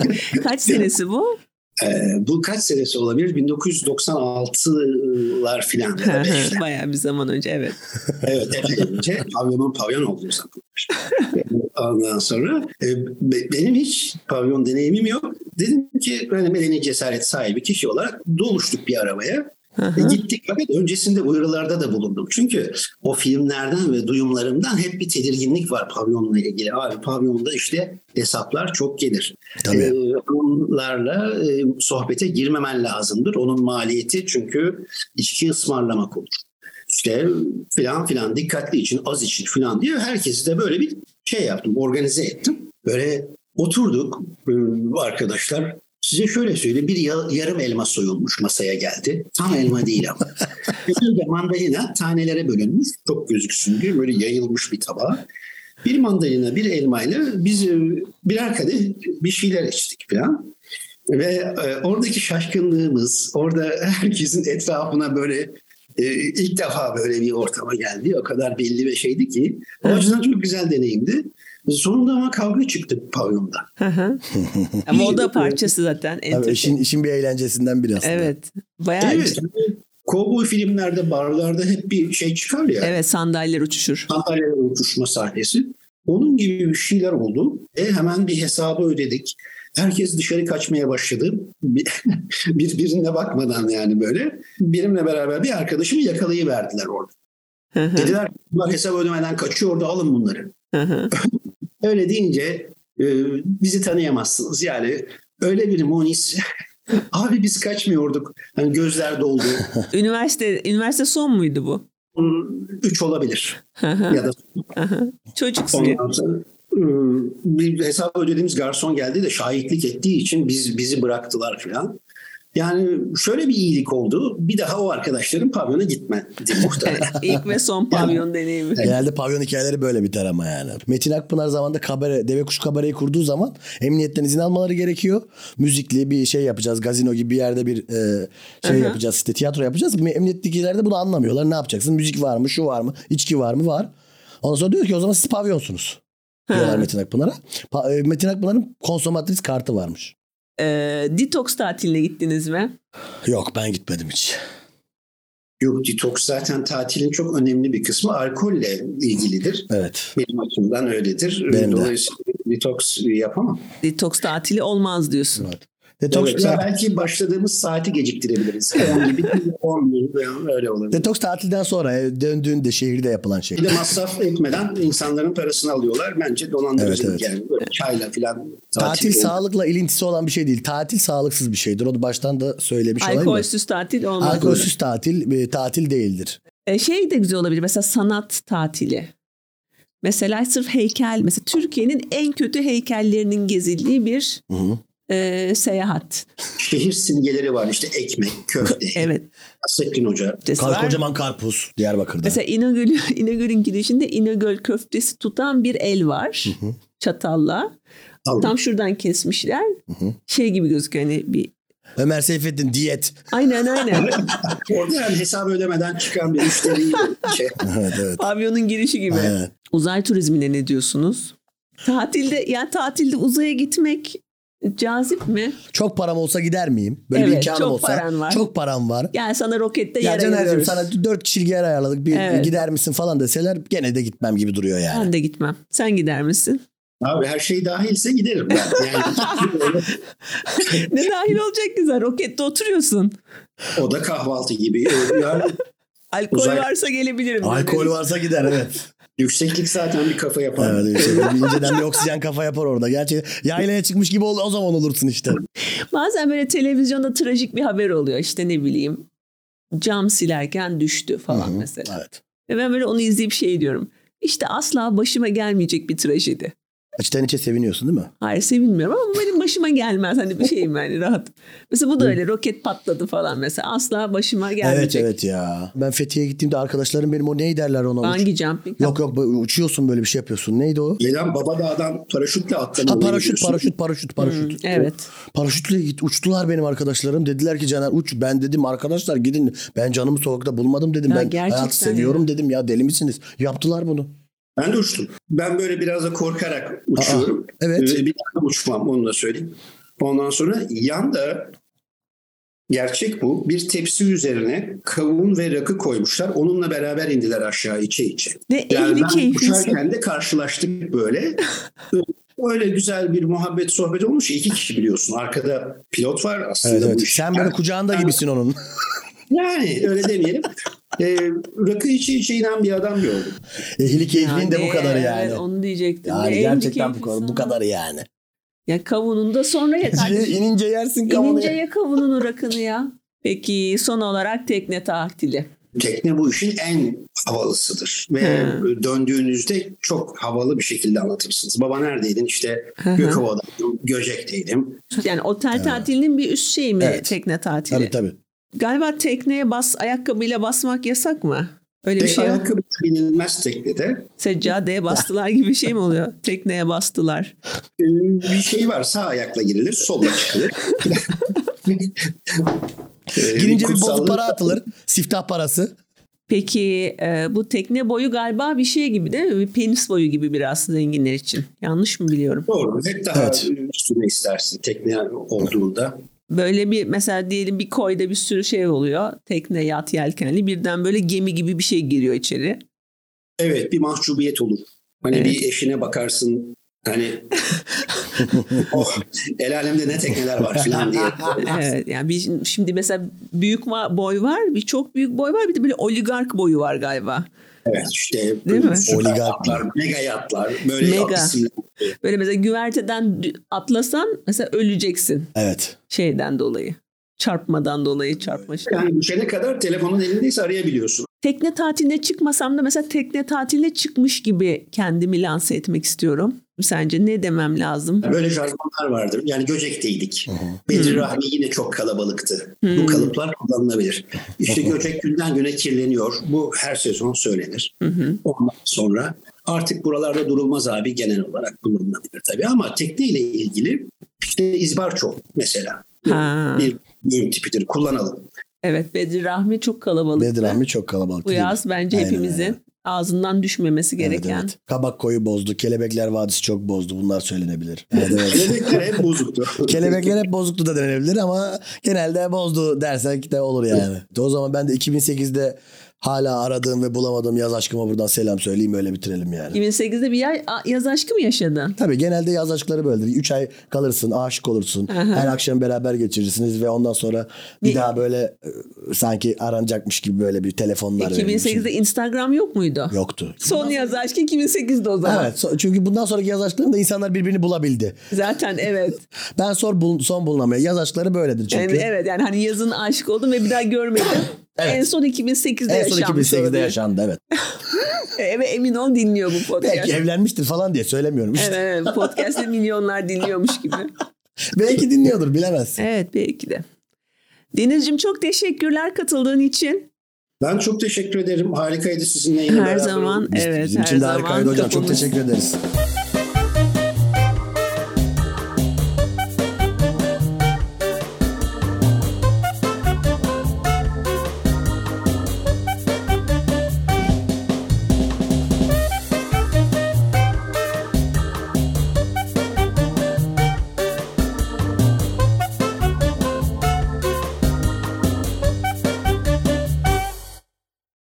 S1: Kaç senesi bu?
S3: Ee, bu kaç senesi olabilir? 1996'lar filan. ya da beşler.
S1: Bayağı bir zaman önce evet.
S3: Evet, epey önce pavyonun pavyon olduğu zamanlar. Ondan sonra e, be- benim hiç pavyon deneyimim yok. Dedim ki hani medeni cesaret sahibi kişi olarak doluştuk bir arabaya. E, gittik fakat öncesinde uyarılarda da bulundum. Çünkü o filmlerden ve duyumlarımdan hep bir tedirginlik var pavyonla ilgili. Abi pavyonda işte hesaplar çok gelir.
S2: Tabii.
S3: E, onlarla e, sohbete girmemen lazımdır. Onun maliyeti çünkü içki ısmarlamak olur işte filan filan dikkatli için az için filan diye herkesi de böyle bir şey yaptım organize ettim. Böyle oturduk e, arkadaşlar size şöyle söyleyeyim bir ya- yarım elma soyulmuş masaya geldi. Tam elma değil ama. Bir de mandalina tanelere bölünmüş çok gözüksün diye böyle yayılmış bir tabağa. Bir mandalina bir elmayla biz e, birer kadeh bir şeyler içtik filan. Ve e, oradaki şaşkınlığımız, orada herkesin etrafına böyle e, ilk defa böyle bir ortama geldi. O kadar belli ve şeydi ki. O açıdan çok güzel deneyimdi. Sonunda ama kavga çıktı pavyonda.
S1: Hı hı. Ama o da parçası zaten. en
S2: Tabii
S1: çok-
S2: işin, işin bir eğlencesinden biri aslında.
S1: Evet. Bayağı
S3: Evet.
S1: evet.
S3: Kovboy filmlerde, barlarda hep bir şey çıkar ya.
S1: evet sandalyeler uçuşur.
S3: Sandalyeler uçuşma sahnesi. Onun gibi bir şeyler oldu. E hemen bir hesabı ödedik. Herkes dışarı kaçmaya başladı. Bir- Birbirine bakmadan yani böyle. Benimle beraber bir arkadaşımı yakalayıverdiler orada.
S1: Hı hı,
S3: Dediler ki, bunlar hesap ödemeden kaçıyordu alın bunları.
S1: hı hı.
S3: Öyle deyince e, bizi tanıyamazsınız. Yani öyle bir monis. Abi biz kaçmıyorduk. Hani gözler doldu.
S1: üniversite üniversite son muydu bu?
S3: Üç olabilir.
S1: Hı hı,
S3: ya da
S1: hı hı. Çocuksun. ya.
S3: Ondan sonra e, bir hesap ödediğimiz garson geldi de şahitlik ettiği için biz bizi bıraktılar falan. Yani şöyle bir iyilik oldu. Bir daha o arkadaşların pavyona gitmedi muhtemelen.
S1: İlk ve son pavyon deneyimi.
S2: Genelde pavyon hikayeleri böyle biter ama yani. Metin Akpınar zamanında kabare, Deve Kuş Kabare'yi kurduğu zaman emniyetten izin almaları gerekiyor. Müzikli bir şey yapacağız. Gazino gibi bir yerde bir e, şey
S1: Aha.
S2: yapacağız. işte tiyatro yapacağız. Me- Emniyettekiler de bunu anlamıyorlar. Ne yapacaksın? Müzik var mı? Şu var mı? İçki var mı? Var. Ondan sonra diyor ki o zaman siz pavyonsunuz. Diyorlar Metin Akpınar'a. Pa- e, Metin Akpınar'ın konsomatris kartı varmış.
S1: Ee, detoks tatiline gittiniz mi?
S2: Yok ben gitmedim hiç.
S3: Yok detoks zaten tatilin çok önemli bir kısmı alkolle ilgilidir.
S2: Evet.
S3: Benim açımdan öyledir.
S2: Benim de.
S3: Dolayısıyla detoks yapamam.
S1: Detoks tatili olmaz diyorsun.
S2: evet. Detoks,
S3: Evet, belki başladığımız saati geciktirebiliriz. 10 gibi, 10 gibi öyle olabilir.
S2: detoks tatilden sonra e, döndüğünde şehirde yapılan şey.
S3: Bir de masraf etmeden insanların parasını alıyorlar. Bence dolandırıcılık
S2: Evet, evet.
S3: yani. Böyle çayla filan.
S2: Tatil
S3: oldu.
S2: sağlıkla ilintisi olan bir şey değil. Tatil sağlıksız bir şeydir. Onu baştan da söylemiş olayım da.
S1: Alkolsüz tatil olmaz.
S2: Alkolsüz tatil e, tatil değildir.
S1: E, şey de güzel olabilir mesela sanat tatili. Mesela sırf heykel mesela Türkiye'nin en kötü heykellerinin gezildiği bir e, seyahat.
S3: Şehir simgeleri var işte ekmek, köfte,
S1: Evet.
S3: Nasrettin Hoca.
S1: Cesi
S2: Kar-
S1: var.
S2: kocaman karpuz Diyarbakır'da.
S1: Mesela İnegöl, İnegöl'ün girişinde İnegöl köftesi tutan bir el var. Çatalla.
S3: Al.
S1: Tam şuradan kesmişler. Şey gibi gözüküyor hani bir
S2: Ömer Seyfettin diyet.
S1: Aynen aynen.
S3: Orada yani hesabı ödemeden çıkan bir müşteri şey.
S2: evet evet.
S1: Pavyonun girişi gibi.
S2: Aynen.
S1: Uzay turizmine ne diyorsunuz? Tatilde yani tatilde uzaya gitmek cazip mi?
S2: Çok param olsa gider miyim? Böyle bir
S1: Evet,
S2: imkanım
S1: çok
S2: olsa.
S1: paran var.
S2: Çok param var.
S1: Gel sana rokette
S2: Ya
S1: yer
S2: Caner'cim
S1: ayırıyoruz.
S2: sana dört kişilik yer ayarladık. Bir
S1: Evet.
S2: gider misin falan deseler gene de gitmem gibi duruyor yani.
S1: Ben de gitmem. Sen gider misin?
S3: Abi her şey dahilse giderim ben. Yani,
S1: Ne dahil olacak güzel. Rokette oturuyorsun.
S3: o da kahvaltı gibi. Ee, Yani
S1: Alkol
S3: Uzay-
S1: varsa gelebilirim.
S2: Alkol
S1: dediniz.
S2: varsa gider evet.
S3: yükseklik zaten bir kafa yapar.
S2: evet bir şey. İnceden bir oksijen kafa yapar orada. Gerçekten yaylaya çıkmış gibi ol, o zaman olursun işte.
S1: Bazen böyle televizyonda trajik bir haber oluyor. İşte ne bileyim cam silerken düştü falan
S2: Hı hı,
S1: mesela.
S2: Evet.
S1: Ve ben böyle onu izleyip şey diyorum. İşte asla başıma gelmeyecek bir trajedi.
S2: İçten içe seviniyorsun değil mi?
S1: Hayır sevinmiyorum ama bu benim başıma gelmez. Hani bir şeyim yani rahat. Mesela bu da öyle roket patladı falan mesela. Asla başıma gelmeyecek.
S2: Evet evet ya. Ben Fethiye'ye gittiğimde arkadaşlarım benim o neyi derler ona? Uç-
S1: Bungee jumping.
S2: Yok yok böyle uçuyorsun böyle bir şey yapıyorsun. Neydi o?
S3: Gelen baba dağdan paraşütle atlama.
S2: Ha
S3: olayı
S2: paraşüt
S3: biliyorsun.
S2: paraşüt paraşüt
S1: Hmm,
S2: paraşüt.
S1: evet.
S2: Paraşütle git uçtular benim arkadaşlarım. Dediler ki Caner uç. Ben dedim arkadaşlar gidin. Ben canımı sokakta bulmadım dedim.
S1: Ya
S2: ben
S1: gerçekten
S2: hayatı seviyorum
S1: ya.
S2: dedim ya deli misiniz? Yaptılar bunu.
S3: Ben de uçtum. Ben böyle biraz da korkarak uçuyorum.
S2: evet.
S3: Ee, Bir daha uçmam onu da söyleyeyim. Ondan sonra yanda gerçek bu. Bir tepsi üzerine kavun ve rakı koymuşlar. Onunla beraber indiler aşağı içe içe.
S1: Ne
S3: Yani
S1: ehli
S3: ben
S1: keyfi.
S3: uçarken de karşılaştık böyle. Öyle güzel bir muhabbet sohbet olmuş. İki kişi biliyorsun. Arkada pilot var aslında.
S2: Evet,
S3: bu
S2: evet.
S3: iş-
S2: Sen böyle kucağında gibisin onun.
S3: Yani öyle demeyelim. Ee, rakı içe içe inen bir adam gördüm.
S2: Ehli keyfliğin de bu
S1: Yani,
S2: kadar
S1: Evet,
S2: yani.
S1: onu diyecektim. Ne
S2: Yani
S1: ehli
S2: gerçekten bu
S1: keyfi
S2: kadar, bu
S1: sana.
S2: kadar yani.
S1: Ya kavunun da sonra ya kardeşim.
S2: İnince yersin kavunu.
S1: İnince ya kavunun rakını ya. Peki son olarak tekne tatili.
S3: Tekne bu işin en havalısıdır. Ve
S1: Hı.
S3: döndüğünüzde çok havalı bir şekilde anlatırsınız. Baba neredeydin? İşte
S1: Hı hı.
S3: Gökova'daydım, Göcek'teydim.
S1: Yani otel tatilinin bir üst şeyi mi
S2: Evet.
S1: tekne tatili?
S2: Tabii tabii.
S1: Galiba tekneye bas ayakkabıyla basmak yasak mı? Öyle bir
S3: Tek
S1: şey yok.
S3: ayakkabı binilmez teknede.
S1: Seccadeye bastılar gibi bir şey mi oluyor? Tekneye bastılar.
S3: Ee, Bir şey var sağ ayakla girilir, solla çıkılır. Ee,
S2: Girince bir bozuk
S3: kutsallık-
S2: para atılır. Siftah parası.
S1: Peki e, bu tekne boyu galiba bir şey gibi değil mi? Bir penis boyu gibi biraz zenginler için. Yanlış mı biliyorum?
S3: Doğru. Hep daha
S2: Evet.
S3: üstüne istersin tekne olduğunda.
S1: Böyle bir mesela diyelim bir koyda bir sürü şey oluyor. Tekne, yat, yelkenli birden böyle gemi gibi bir şey giriyor içeri.
S3: Evet bir mahcubiyet olur. Hani
S1: Evet.
S3: bir eşine bakarsın hani oh el alemde ne tekneler var filan diye.
S1: Evet, yani bir, şimdi mesela büyük va- boy var, bir çok büyük boy var, bir de böyle oligark boyu var galiba.
S3: Evet işte
S1: Değil mi?
S3: süper
S2: Oligark.
S3: yatlar, mega yatlar, böyle
S1: Mega.
S3: isimler.
S1: Böyle mesela güverteden dü- atlasan mesela öleceksin
S2: Evet.
S1: şeyden dolayı. Çarpmadan dolayı çarpma. şey.
S3: Yani düşene kadar telefonun elindeyse arayabiliyorsun.
S1: Tekne tatiline çıkmasam da mesela tekne tatiline çıkmış gibi kendimi lanse etmek istiyorum. Sence ne demem lazım?
S3: Böyle jargonlar vardır. Yani Göcek'teydik. Bedir Rahmi yine çok kalabalıktı. Bu kalıplar kullanılabilir. İşte Göcek günden güne kirleniyor. Bu her sezon söylenir. Ondan sonra artık buralarda durulmaz abi genel olarak kullanılabilir tabii. Ama tekneyle ilgili işte izbarço mesela.
S1: Ha.
S3: Bir ürün tipidir. Kullanalım.
S1: Evet Bedir Rahmi çok kalabalık.
S2: Bedir Rahmi çok kalabalık.
S1: Bu yaz bence
S2: Aynen
S1: hepimizin
S2: öyle.
S1: ağzından düşmemesi
S2: Evet,
S1: gereken.
S2: evet. Kabak koyu bozdu. Kelebekler Vadisi çok bozdu. Bunlar söylenebilir. Evet, evet.
S3: Kelebekler hep bozuktu.
S2: Kelebekler hep bozuktu da denenebilir ama genelde bozdu dersek de olur yani. O zaman ben de 2008'de hala aradığım ve bulamadığım yaz aşkıma buradan selam söyleyeyim öyle bitirelim yani.
S1: 2008'de bir yay, a- yaz aşkı mı yaşadın?
S2: Tabii genelde yaz aşkları böyledir. 3 ay kalırsın, aşık olursun.
S1: Aha.
S2: Her akşam beraber geçirirsiniz ve ondan sonra bir
S1: Bir-
S2: daha böyle e, sanki aranacakmış gibi böyle bir şey. telefonlar. verilmiş.
S1: 2008'de Instagram yok muydu?
S2: Yoktu.
S1: Son yaz aşkı 2008'de o zaman.
S2: Evet so- çünkü bundan sonraki yaz aşklarında insanlar birbirini bulabildi.
S1: Zaten evet.
S2: Ben son, bul- son bulunamaya yaz aşkları böyledir çünkü.
S1: Yani, evet yani hani yazın aşık oldum ve bir daha görmedim.
S2: Evet.
S1: En son 2008'de
S2: En son
S1: yaşanmış
S2: 2008'de
S1: olabilir.
S2: yaşandı evet.
S1: Eve emin ol dinliyor bu podcast.
S2: Belki evlenmiştir falan diye söylemiyorum işte.
S1: Evet, evet podcast'te milyonlar dinliyormuş gibi.
S2: Belki dinliyordur bilemezsin.
S1: Evet belki de. Deniz'cim çok teşekkürler katıldığın için.
S3: Ben çok teşekkür ederim. Harikaydı sizinle yine
S1: Her
S3: beraber
S1: zaman
S2: Biz-
S1: evet
S2: Bizim
S1: her
S2: için de
S1: zaman
S2: harikaydı hocam. Çok
S1: kapımız-
S2: teşekkür ederiz.